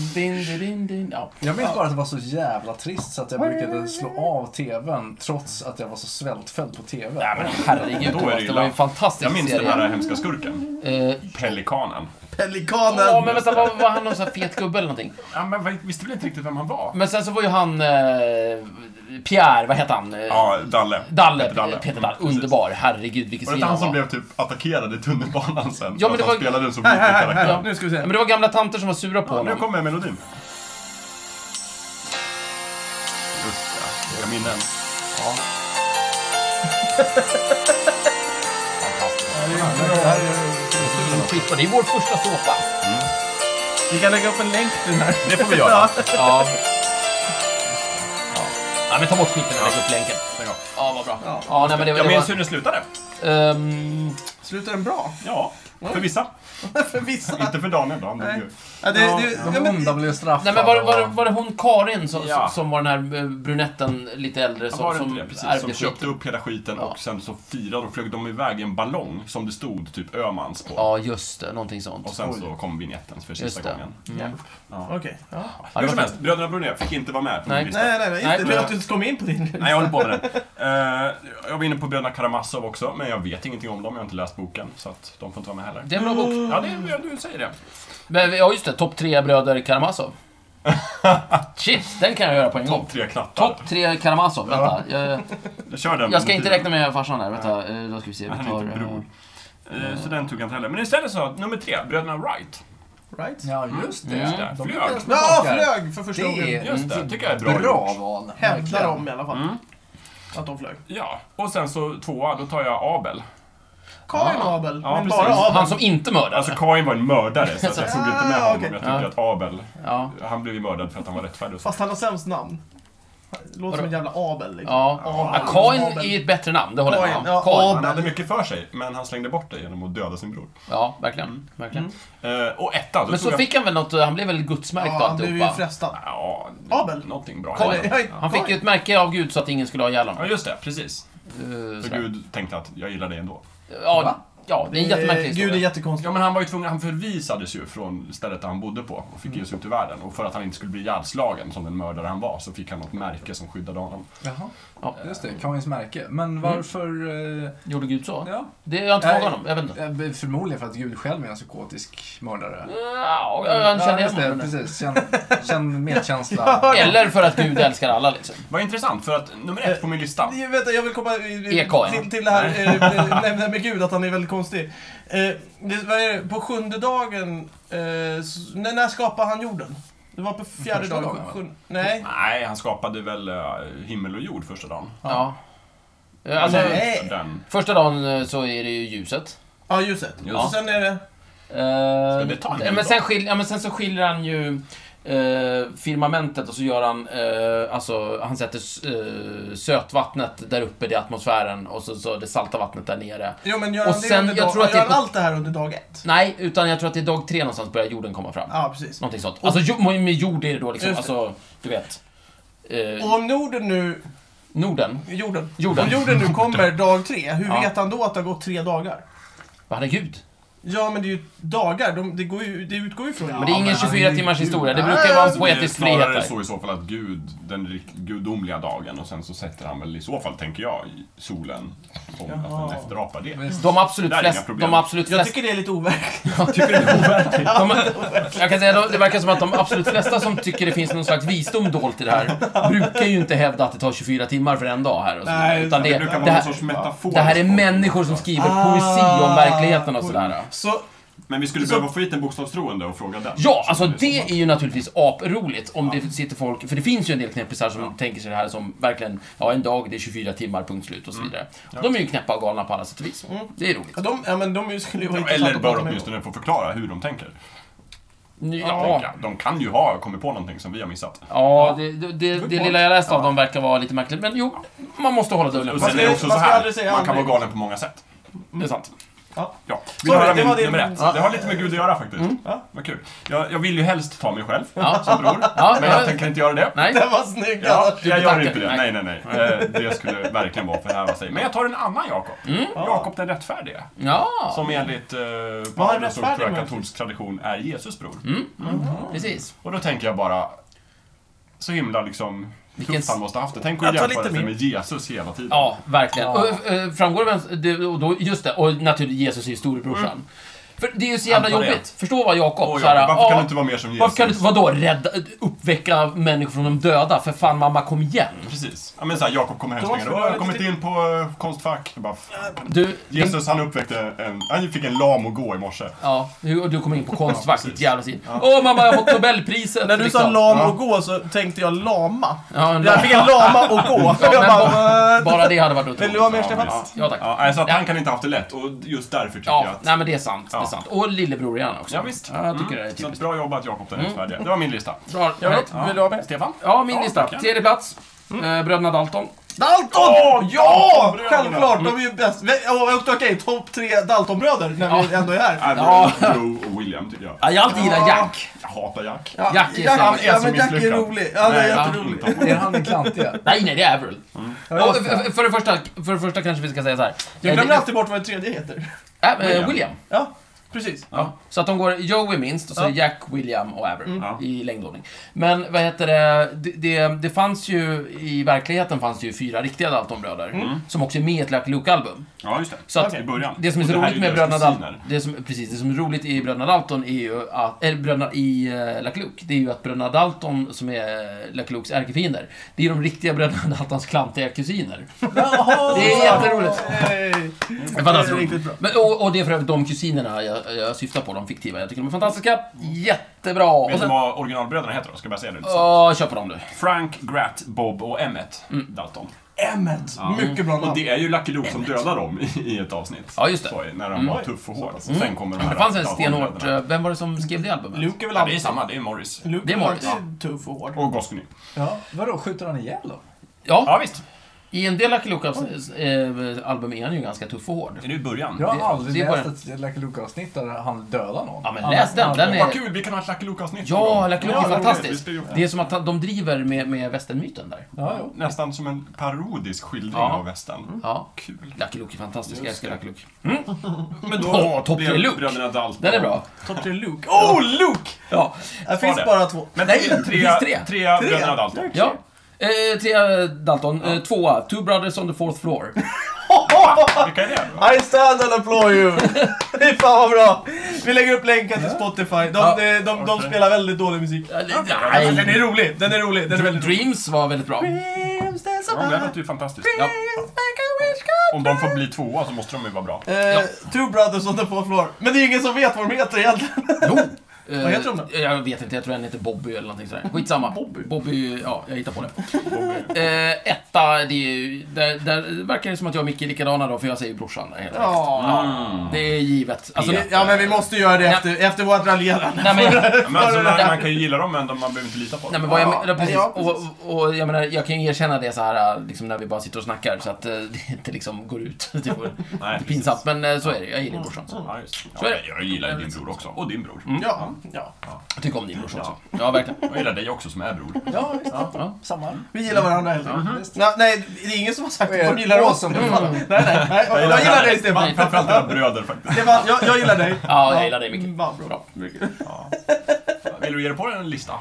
Speaker 2: din, din, din, din. Ja.
Speaker 3: Jag minns bara att det var så jävla trist så att jag brukade slå av tvn trots att jag var så svältfödd på tv.
Speaker 2: Nej men herregud
Speaker 4: Då är det
Speaker 2: Thomas, det
Speaker 4: illa.
Speaker 2: var ju en fantastisk
Speaker 4: Jag minns
Speaker 2: serie.
Speaker 4: den här hemska skurken.
Speaker 2: Eh,
Speaker 4: Pelikanen.
Speaker 1: Pelikanen.
Speaker 2: Ja, men vänta, var, var han någon sån här fet gubbe eller någonting?
Speaker 4: Ja, men vi- visste väl inte riktigt vem han var?
Speaker 2: Men sen så var ju han... Eh, Pierre, vad hette han? Eh,
Speaker 4: Ja, Dalle.
Speaker 2: Dalle,
Speaker 4: Peter Dalle.
Speaker 2: Peter Dalle.
Speaker 4: Precis.
Speaker 2: Underbar. Herregud, vilket
Speaker 4: Var det
Speaker 2: svin
Speaker 4: inte han som
Speaker 2: var.
Speaker 4: blev typ attackerad i tunnelbanan sen?
Speaker 2: Ja, men
Speaker 4: För att
Speaker 2: det
Speaker 4: han
Speaker 2: var-
Speaker 4: spelade en så
Speaker 1: Här,
Speaker 4: vidrig
Speaker 1: här, här,
Speaker 2: Ja.
Speaker 1: här.
Speaker 4: karaktär.
Speaker 1: Nu ska vi se.
Speaker 2: Ja, men det var gamla tanter som var sura på
Speaker 4: Nu
Speaker 2: honom.
Speaker 4: kommer melodin. Just det, jag minnen.
Speaker 2: Skitbra, det är vår första såpa.
Speaker 1: Vi kan lägga upp en länk till den här.
Speaker 4: Det får vi göra.
Speaker 2: Ja. Ja, men ta bort skiten och lägg upp länken.
Speaker 4: Stäng av.
Speaker 2: Ja, vad bra.
Speaker 1: Ja.
Speaker 2: Ja, nej, men det,
Speaker 4: Jag
Speaker 2: det
Speaker 4: minns
Speaker 2: var...
Speaker 4: hur det slutade.
Speaker 2: Ehm,
Speaker 1: Slutar den bra?
Speaker 4: Ja, för vissa.
Speaker 1: För vissa.
Speaker 4: Inte för Daniel då, han dog
Speaker 1: Nej.
Speaker 4: ju.
Speaker 1: Ja, det, det, ja,
Speaker 3: De
Speaker 1: men,
Speaker 3: onda blev straffade.
Speaker 2: Nej men var, var, var det hon Karin som,
Speaker 4: Ja.
Speaker 2: som var den här eh, brunetten lite äldre
Speaker 4: Som, var det
Speaker 2: som, som
Speaker 4: inte det? Precis, som
Speaker 2: ärvde
Speaker 4: köpte
Speaker 2: skiten?
Speaker 4: upp hela skiten
Speaker 2: Ja.
Speaker 4: och sen så firade och flög de iväg i en ballong som det stod typ Ömans på.
Speaker 2: Ja just det, någonting sånt.
Speaker 4: Och sen så kom vignetten för
Speaker 2: Just
Speaker 4: sista
Speaker 2: det. Mm.
Speaker 4: gången.
Speaker 1: Okej. Ja.
Speaker 2: Ja, det
Speaker 4: Hur
Speaker 2: var
Speaker 4: som helst, Bröderna Brunier fick inte vara med på
Speaker 2: Nej.
Speaker 4: min lista.
Speaker 1: Nej, nej, nej.
Speaker 2: Nej,
Speaker 1: Inte,
Speaker 2: men-
Speaker 1: nej, att du inte kom in på din.
Speaker 4: Nej, jag håller på med den. Eh, jag var inne på Bröderna Karamazov också, men jag vet ingenting om dem. Jag har inte läst boken, så att de får inte vara med heller.
Speaker 2: Det är en bra bok.
Speaker 4: Ja, det är, ja, du säger det.
Speaker 2: Men, ja just det, topp tre bröder Karamazov. Shit, den kan jag göra på en gång.
Speaker 4: Topp tre knattar.
Speaker 2: Topp tre Karamazov, vänta. Jag,
Speaker 4: Kör den.
Speaker 2: jag ska inte räkna med farsan där, vänta. eh, Då ska vi se, vi
Speaker 4: Han är
Speaker 2: tar...
Speaker 4: inte
Speaker 2: eh,
Speaker 4: bror. Eh, Så den tog jag inte heller. Men istället så, nummer tre, Bröderna Wright.
Speaker 1: Right?
Speaker 3: Ja, just det.
Speaker 2: Mm.
Speaker 4: Där,
Speaker 3: De
Speaker 4: flög.
Speaker 3: lyckades med
Speaker 1: Ja,
Speaker 3: bakar.
Speaker 1: flög för första
Speaker 3: Det
Speaker 1: gången.
Speaker 3: är
Speaker 4: Just det, tycker jag är bra,
Speaker 3: bra
Speaker 4: gjort.
Speaker 3: val.
Speaker 1: Hävdar
Speaker 3: Verkligen.
Speaker 1: de i alla fall.
Speaker 4: Mm.
Speaker 1: Att de flög.
Speaker 4: Ja, och sen så tvåa, då tar jag Abel.
Speaker 1: Kain och Abel.
Speaker 4: Ja,
Speaker 1: men
Speaker 4: precis.
Speaker 1: bara Abel.
Speaker 2: eh, Han som inte mördar.
Speaker 4: Alltså Kain var en mördare, så att jag tog inte med honom.
Speaker 1: Ah, okej.
Speaker 4: men Jag tyckte att Abel,
Speaker 2: ja.
Speaker 4: han blev ju mördad för att han var rättfärdig och så.
Speaker 1: Fast han har sämst namn. Det Låter som en jävla Abel. Liksom.
Speaker 2: Ja.
Speaker 1: Abel.
Speaker 2: ja. Kain
Speaker 1: Abel.
Speaker 2: är ett bättre namn, det håller jag med om.
Speaker 1: Kain, ja,
Speaker 2: Kain.
Speaker 4: Han hade mycket för sig, men han slängde bort det genom att döda sin bror.
Speaker 2: Ja,
Speaker 1: Mm.
Speaker 2: verkligen. verkligen.
Speaker 4: Eh, och etta, då
Speaker 2: Men
Speaker 4: tog
Speaker 2: så
Speaker 4: jag...
Speaker 2: fick han väl något, han blev väl gudsmärkt och
Speaker 1: Ja, han blev ju
Speaker 2: alltihopa.
Speaker 1: frestad.
Speaker 4: Ja,
Speaker 1: Abel.
Speaker 4: någonting bra.
Speaker 2: Kain.
Speaker 1: Eller, ja,
Speaker 2: Han fick ju ett märke av Gud så att ingen skulle ha ihjäl honom.
Speaker 4: Ja, just det. Precis.
Speaker 2: Eh,
Speaker 4: Så
Speaker 2: sådär.
Speaker 4: Gud tänkte att jag gillar dig ändå.
Speaker 2: Ja, ja, det är en
Speaker 1: Eh,
Speaker 2: jättemärklig
Speaker 1: Gud är
Speaker 2: historia.
Speaker 1: jättekonstig.
Speaker 4: Ja, men han var ju tvungen, han förvisades ju från stället där han bodde på och
Speaker 2: Mm.
Speaker 4: fick ge sig ut i världen. Och för att han inte skulle bli ihjälslagen som den mördare han var så fick han något märke som skyddade honom.
Speaker 3: Jaha.
Speaker 2: Ja.
Speaker 3: Just det, Kains märke. Men varför... eh,
Speaker 2: Gjorde Gud så?
Speaker 3: Ja.
Speaker 2: Det har Mm. jag inte
Speaker 3: Nej.
Speaker 2: frågat om, jag vet inte.
Speaker 3: eh, Förmodligen för att Gud själv är en psykotisk mördare.
Speaker 2: Ja, han känner
Speaker 3: just
Speaker 2: igen
Speaker 3: det,
Speaker 2: honom.
Speaker 3: precis. Känn, känn medkänsla.
Speaker 1: Ja.
Speaker 2: Eller för att Gud älskar alla liksom.
Speaker 4: Vad intressant, för att nummer ett på min lista...
Speaker 1: Jag, vet, jag vill komma eh,
Speaker 2: E.K., E ja.
Speaker 1: till, till det här eh, det- det här med Gud, att han är väldigt konstig. Eh, det, vad är det? På sjunde dagen, eh, s- när, när skapade han jorden? Det var på fjärde
Speaker 3: Första
Speaker 1: dagen?
Speaker 3: dagen, va?
Speaker 1: sjunde- nej.
Speaker 4: Nej, han skapade väl eh, himmel och jord första dagen.
Speaker 2: Ja. Alltså,
Speaker 1: Nej.
Speaker 4: Den.
Speaker 2: första dagen eh, så är det ju ljuset.
Speaker 1: Ja, ljuset.
Speaker 4: Just.
Speaker 1: Och sen är det...
Speaker 2: Eh,
Speaker 4: det ta en
Speaker 2: men,
Speaker 4: dag?
Speaker 2: sen skil, ja, men sen så skiljer han ju eh, firmamentet och så gör han, eh, alltså han sätter s- eh, sötvattnet där uppe, det är atmosfären, och så, så det salta vattnet där nere.
Speaker 1: Jo, men gör
Speaker 2: Och
Speaker 1: han det
Speaker 2: sen-
Speaker 1: under
Speaker 2: jag
Speaker 1: dag,
Speaker 2: tror att det
Speaker 1: gör
Speaker 2: är
Speaker 1: han
Speaker 2: på-
Speaker 1: allt det här under dag ett?
Speaker 2: Nej, utan jag tror att det är dag tre någonstans börjar jorden komma fram.
Speaker 1: Ja, precis.
Speaker 2: Någonting sånt. Alltså jo- med jord är det då liksom,
Speaker 1: Just det.
Speaker 2: alltså, du vet. Eh,
Speaker 1: Och om Norden nu...
Speaker 2: Norden.
Speaker 1: Jorden.
Speaker 2: Jorden.
Speaker 1: Om jorden nu kommer dag tre, hur
Speaker 2: Ja.
Speaker 1: vet han då att det har gått tre dagar?
Speaker 2: Vad hade Gud?
Speaker 1: Ja, men det är ju dagar. De, det, går ju, det utgår ju från...
Speaker 2: Men det är ingen
Speaker 3: men han är
Speaker 2: 24
Speaker 3: ju
Speaker 2: timmars
Speaker 3: Gud.
Speaker 2: historia. Det
Speaker 1: Nej,
Speaker 2: brukar ju vara en
Speaker 1: så
Speaker 4: alltså, Det är
Speaker 2: poetisk frihet
Speaker 4: Snarare
Speaker 2: där.
Speaker 4: så i så fall att Gud, den rikt- gudomliga dagen och sen så sätter han väl i så fall, tänker jag, i solen. Som att
Speaker 1: Jaha.
Speaker 4: den efterapar det.
Speaker 2: De absolut
Speaker 4: Där är inga
Speaker 2: flesta...
Speaker 4: problem.
Speaker 2: De absolut
Speaker 1: Jag
Speaker 2: flesta...
Speaker 1: tycker det är lite overkligt.
Speaker 2: De, jag kan säga, de, det verkar som att de absolut flesta som tycker det finns någon slags visdom dolt i det här brukar ju inte hävda att det tar 24 timmar för en dag här. Och så, vidare,
Speaker 1: Nej,
Speaker 2: utan
Speaker 4: Det
Speaker 2: det,
Speaker 4: brukar vara
Speaker 2: det,
Speaker 4: någon
Speaker 2: här,
Speaker 4: sorts Ah. metafor.
Speaker 2: det här är människor som skriver poesi om verkligheten och sådär.
Speaker 1: Så,
Speaker 4: Men vi skulle
Speaker 1: Så-
Speaker 4: behöva få hit en bokstavstroende och fråga den.
Speaker 2: Ja, alltså
Speaker 4: Så
Speaker 2: det
Speaker 4: är så.
Speaker 2: är ju naturligtvis aproligt om det sitter folk, för det finns ju en del knäppisar som tänker sig det här som verkligen, ja en dag, det är 24 timmar, punkt slut och så
Speaker 4: Mm.
Speaker 2: vidare. De är ju knäppa och galna på alla sätt och vis. Det är roligt.
Speaker 1: ja, de, ja, men de är ju- skulle ju vara
Speaker 4: Ja,
Speaker 1: intressanta
Speaker 4: Eller
Speaker 1: att
Speaker 4: bör
Speaker 1: prata med.
Speaker 4: åtminstone få förklara hur de tänker.
Speaker 2: Ja,
Speaker 4: Tänker jag. De kan ju ha kommit på någonting som vi har missat.
Speaker 2: ja det, det, det, det lilla jag läste av dem verkar vara lite märkligt, men jo, man måste hålla dörren
Speaker 4: Och
Speaker 2: på.
Speaker 4: sen är det
Speaker 1: man
Speaker 4: också
Speaker 1: ska
Speaker 4: så
Speaker 1: aldrig säga
Speaker 4: här, man kan vara
Speaker 1: aldrig.
Speaker 4: galen på många sätt.
Speaker 2: Det är sant.
Speaker 1: Ja.
Speaker 4: Ja. Vill
Speaker 1: Sorry,
Speaker 4: du höra
Speaker 1: det var
Speaker 4: min
Speaker 1: din- Mm.
Speaker 4: nummer ett?
Speaker 1: Ja.
Speaker 4: Det har lite med Gud att göra faktiskt.
Speaker 1: Ja.
Speaker 4: Vad kul. Jag, jag vill ju helst ta mig själv
Speaker 2: Ja.
Speaker 4: som bror,
Speaker 2: Ja,
Speaker 4: men
Speaker 2: ja.
Speaker 4: jag tänker inte göra det.
Speaker 2: Nej.
Speaker 1: Den var snygg
Speaker 4: Ja,
Speaker 1: annars.
Speaker 2: du
Speaker 4: jag gör
Speaker 2: betackar
Speaker 4: inte det.
Speaker 2: dig.
Speaker 4: Nej, nej, nej. Eh, Det skulle verkligen vara att förhäva sig. Men jag tar en annan Jakob. Jakob den rättfärdige.
Speaker 2: Ja,
Speaker 4: Som enligt eh,
Speaker 1: Mm. Vad har
Speaker 4: Paulus och
Speaker 1: rättfärdig
Speaker 4: tror jag
Speaker 1: med?
Speaker 4: katolsk tradition är Jesus bror.
Speaker 2: precis.
Speaker 4: Och då tänker jag bara, så himla liksom
Speaker 2: Vilken
Speaker 4: tufft han måste ha haft det. Tänk
Speaker 1: Jag
Speaker 4: att
Speaker 1: tar
Speaker 4: jämföra
Speaker 1: lite
Speaker 4: sig
Speaker 1: mer.
Speaker 4: med Jesus hela tiden.
Speaker 2: Ja, verkligen. Och, eh, framgår det vem... det- och då, just det, och naturligtvis Jesus är ju storebrorsan. För det är ju så jävla
Speaker 4: Mm. Antar det.
Speaker 2: jobbigt. Förstå vad Jakob...
Speaker 4: Oj,
Speaker 2: så här,
Speaker 4: Jakob, varför kan
Speaker 2: ja,
Speaker 4: du inte vara mer som Jesus?
Speaker 2: Varför kan du inte, vadå, rädda, uppväcka människor från de döda? För fan mamma, kom igen.
Speaker 4: Precis. Ja men såhär, Jakob kommer hem och
Speaker 1: Då
Speaker 4: springer.
Speaker 1: får
Speaker 4: "Åh,
Speaker 1: jag lite
Speaker 4: Jag har kommit
Speaker 1: till."
Speaker 4: in på eh, Konstfack. Jag Bara,
Speaker 2: Du,
Speaker 4: Jesus han uppväckte en, han fick en lam att gå i morse.
Speaker 2: ja, du- och du kommer in på Konstfack,
Speaker 4: Ja,
Speaker 2: ditt
Speaker 4: precis.
Speaker 2: jävla svin. Åh mamma, jag har fått Nobelpriset!
Speaker 1: När du
Speaker 2: liksom.
Speaker 1: sa lam
Speaker 4: Ja.
Speaker 1: och gå så tänkte jag lama.
Speaker 2: Ja, en
Speaker 1: Jag
Speaker 2: lam.
Speaker 1: fick en lama och gå.
Speaker 2: Ja,
Speaker 1: Jag
Speaker 2: men
Speaker 1: bara,
Speaker 2: bara, bara det hade varit otroligt.
Speaker 1: Vill du ha mer
Speaker 4: Ja,
Speaker 1: Stefan?
Speaker 4: visst.
Speaker 2: Ja, tack.
Speaker 4: Ja, alltså att han kan inte ha haft det lätt och just därför tycker jag
Speaker 2: Ja,
Speaker 4: att...
Speaker 2: nej men det är sant. Det är
Speaker 4: Ja.
Speaker 2: sant. Och lillebror igen också.
Speaker 4: Ja, visst.
Speaker 2: Ja, jag tycker det är
Speaker 4: Så att
Speaker 2: typiskt. Mm.
Speaker 4: bra jobbat Jakob den rättfärdige. Det var min lista.
Speaker 2: Bra, ja,
Speaker 4: Vill du ha med? Stefan?
Speaker 2: ja, min
Speaker 4: Ja,
Speaker 2: lista.
Speaker 4: tack.
Speaker 2: Tredje plats. Eh, Bröderna Dalton.
Speaker 1: Dalton!
Speaker 4: Åh,
Speaker 1: ja!
Speaker 4: Daltonbröderna!
Speaker 1: Självklart, de är ju bäst. Vi- Och och okej, topp tre Daltonbröder när vi
Speaker 2: Ja.
Speaker 1: ändå är här.
Speaker 4: Ja. Drew och William tycker jag.
Speaker 2: Ja, jag har alltid gillat Jack.
Speaker 4: Jag hatar Jack.
Speaker 1: Ja,
Speaker 2: Jack är så-
Speaker 1: ja,
Speaker 4: är
Speaker 1: ja,
Speaker 4: så
Speaker 1: men Jack är
Speaker 4: misslyckad.
Speaker 1: rolig. Ja, det är
Speaker 4: Nej,
Speaker 2: ja.
Speaker 1: jätterolig.
Speaker 3: Är han den klantiga?
Speaker 2: Nej, nej, det är Avril.
Speaker 3: Ja,
Speaker 2: Och,
Speaker 3: just
Speaker 2: för,
Speaker 3: det.
Speaker 2: för, det första, för det första kanske vi ska säga så här.
Speaker 1: Jag
Speaker 2: Eh,
Speaker 1: glömmer
Speaker 2: det-
Speaker 1: alltid bort vad det tredje heter.
Speaker 2: äh, William.
Speaker 4: William.
Speaker 2: William.
Speaker 1: Ja, precis.
Speaker 2: Så att de går Joey minst, och så
Speaker 1: Ja.
Speaker 2: Jack, William och Avril
Speaker 4: Ja.
Speaker 2: i längdordning. Men vad heter det? Det, det, det fanns ju, i verkligheten fanns det ju fyra riktiga Dalton-bröder. Som också är med i ett Lucky Luke-album.
Speaker 4: Ja, just det.
Speaker 2: Så att
Speaker 4: I början.
Speaker 2: det som är
Speaker 4: Och
Speaker 2: så
Speaker 4: här
Speaker 2: roligt
Speaker 4: deras
Speaker 2: med Bröderna Dalton,
Speaker 4: kusiner.
Speaker 2: det som, precis, det som är roligt i Bröderna Dalton är ju att, eller Bröderna i uh, Lucky Luke, det är ju att Bröderna Dalton, som är Lucky Lukes ärkefiender, det är de riktiga Bröderna Daltons klantiga kusiner. Det är jätteroligt.
Speaker 1: Hej.
Speaker 2: Det är fantastiskt
Speaker 1: Det är riktigt
Speaker 2: roligt. Men, och, och det är för övrigt de kusinerna jag, jag syftar på, de fiktiva. Jag tycker de är fantastiska. Jättebra. Och
Speaker 4: Vet du
Speaker 2: sen,
Speaker 4: vad originalbröderna heter då? Ska jag bara säga det lite snabbt.
Speaker 2: Ja, Mm. kör på dem du.
Speaker 4: Frank, Grat, Bob och Emmet Dalton.
Speaker 1: Emmet. Mycket bra
Speaker 4: Och
Speaker 1: namn.
Speaker 4: det är ju Lucky Luke som dödar dem i- i ett avsnitt.
Speaker 2: Ja, just det. Mm.
Speaker 4: Så, när han var tuff och hård. Och sen kommer de här
Speaker 2: Det fanns en
Speaker 4: Daltonbröderna.
Speaker 2: stenhårt... eh, Vem var det som skrev det albumet?
Speaker 1: Luke är väl
Speaker 4: Ja, det är
Speaker 1: alltid-
Speaker 4: samma. Det är Morris.
Speaker 1: Luke
Speaker 2: Det är
Speaker 1: är
Speaker 2: Morris.
Speaker 1: alltid tuff och hård.
Speaker 4: Och Goscinny.
Speaker 3: Ja, vadå, skjuter han ihjäl dem?
Speaker 4: Ja,
Speaker 2: Ja,
Speaker 4: visst.
Speaker 2: i en del Lucky Lucas eh, album är han ju ganska tuff och hård.
Speaker 4: Det är ju början.
Speaker 3: Jag har
Speaker 2: Det-
Speaker 3: aldrig
Speaker 2: det är bara-
Speaker 3: läst ett Lucky Luke-avsnitt där han dödar någon.
Speaker 2: Ja, men
Speaker 3: Han-
Speaker 2: läs den,
Speaker 3: han-
Speaker 2: den är-
Speaker 4: Vad kul, vi kan ha ett Lucky Luke-avsnitt.
Speaker 2: Ja, Lucky Luke är
Speaker 4: det
Speaker 2: fantastiskt.
Speaker 4: roligt. Vi ska
Speaker 2: Det
Speaker 4: ju-
Speaker 2: är som att han- de driver med, med västernmyten där.
Speaker 3: Ja, jo.
Speaker 4: Nästan som en parodisk skildring
Speaker 2: Ja. Mm.
Speaker 4: av västern.
Speaker 2: Ja.
Speaker 4: Kul.
Speaker 2: Lucky Luke är fantastisk. Jag älskar Lucky Luke.
Speaker 4: Men då
Speaker 2: Åh, Top
Speaker 4: blev
Speaker 2: Gun Luke.
Speaker 4: Bröderna Dalton.
Speaker 2: Den är bra.
Speaker 1: Topp tre Luke. Oh, Luke!
Speaker 2: Ja.
Speaker 1: Det finns
Speaker 4: det.
Speaker 1: bara två.
Speaker 4: Men
Speaker 2: Nej,
Speaker 4: tre,
Speaker 2: det
Speaker 4: tre,
Speaker 2: finns tre.
Speaker 4: tre.
Speaker 1: Tre.
Speaker 4: Bröderna Dalton.
Speaker 2: ja. Eh, tre eh, Dalton. Eh, tvåa. Two Brothers on the Fourth Floor.
Speaker 4: Vilka är det? då?
Speaker 1: I stand and applaud you! Fy fan vad bra! Vi lägger upp länken till Spotify. De,
Speaker 2: Ja.
Speaker 1: de, de, de spelar väldigt dålig musik.
Speaker 2: Eh,
Speaker 1: Men Den är
Speaker 2: nej.
Speaker 1: rolig, den är rolig, den är väldigt rolig.
Speaker 2: Dreams var väldigt bra.
Speaker 4: Ja, det här låter ju fantastiskt.
Speaker 2: Ja.
Speaker 4: Om de får bli tvåa
Speaker 2: Mm.
Speaker 4: så måste de ju vara bra.
Speaker 1: Eh, Two brothers on the fourth floor. Men det är ingen som vet vad de heter egentligen.
Speaker 2: Jo!
Speaker 1: Vad heter de
Speaker 2: då? Jag vet inte, jag tror den heter Bobby eller någonting sådär. Skitsamma. Bobby? Bobby, ja, jag hittar på det. Eh, etta, det är ju, där, där verkar det som att jag och Micke är likadana då, för jag säger brorsan där helt enkelt.
Speaker 1: Ja.
Speaker 2: Det är givet. Alltså,
Speaker 1: ja, men vi måste göra det efter, efter vårt raljerande.
Speaker 2: nej, men,
Speaker 4: Men alltså, man, man kan ju gilla dem, men de- man behöver inte lita på
Speaker 2: Nej,
Speaker 4: dem.
Speaker 2: men vad jag,
Speaker 1: Ja,
Speaker 2: men- ja, precis.
Speaker 1: ja, precis.
Speaker 2: Och, och jag menar, jag kan ju erkänna det så här äh, liksom när vi bara sitter och snackar så att äh, det inte liksom går ut. Det är
Speaker 4: Nej,
Speaker 2: lite pinsamt, men äh, så är det. Jag gillar brorsan. Så.
Speaker 4: Ja, just.
Speaker 2: Så
Speaker 4: Ja,
Speaker 2: är det.
Speaker 4: men jag gillar ju din bror också. Och din bror.
Speaker 1: Ja, ja.
Speaker 2: Jag tycker om din brorsa också. Ja, verkligen.
Speaker 4: Jag gillar dig också som är bror.
Speaker 3: Ja, visst.
Speaker 2: Ja.
Speaker 3: Samma.
Speaker 1: Vi gillar varandra helt enkelt. Nej, Nej, det är ingen som har sagt
Speaker 3: Vad
Speaker 1: att de
Speaker 3: är det? Mm.
Speaker 1: gillar oss.
Speaker 3: Åh, som-
Speaker 1: Nej, nej, nej. Jag
Speaker 4: gillar
Speaker 1: gillar dig
Speaker 4: dig.
Speaker 1: Stefan.
Speaker 4: Framförallt era bröder faktiskt.
Speaker 1: Stefan, jag, jag gillar dig.
Speaker 2: Ja, jag gillar dig mycket.
Speaker 1: Mm, vad bra.
Speaker 4: Vill du ge dig på en lista?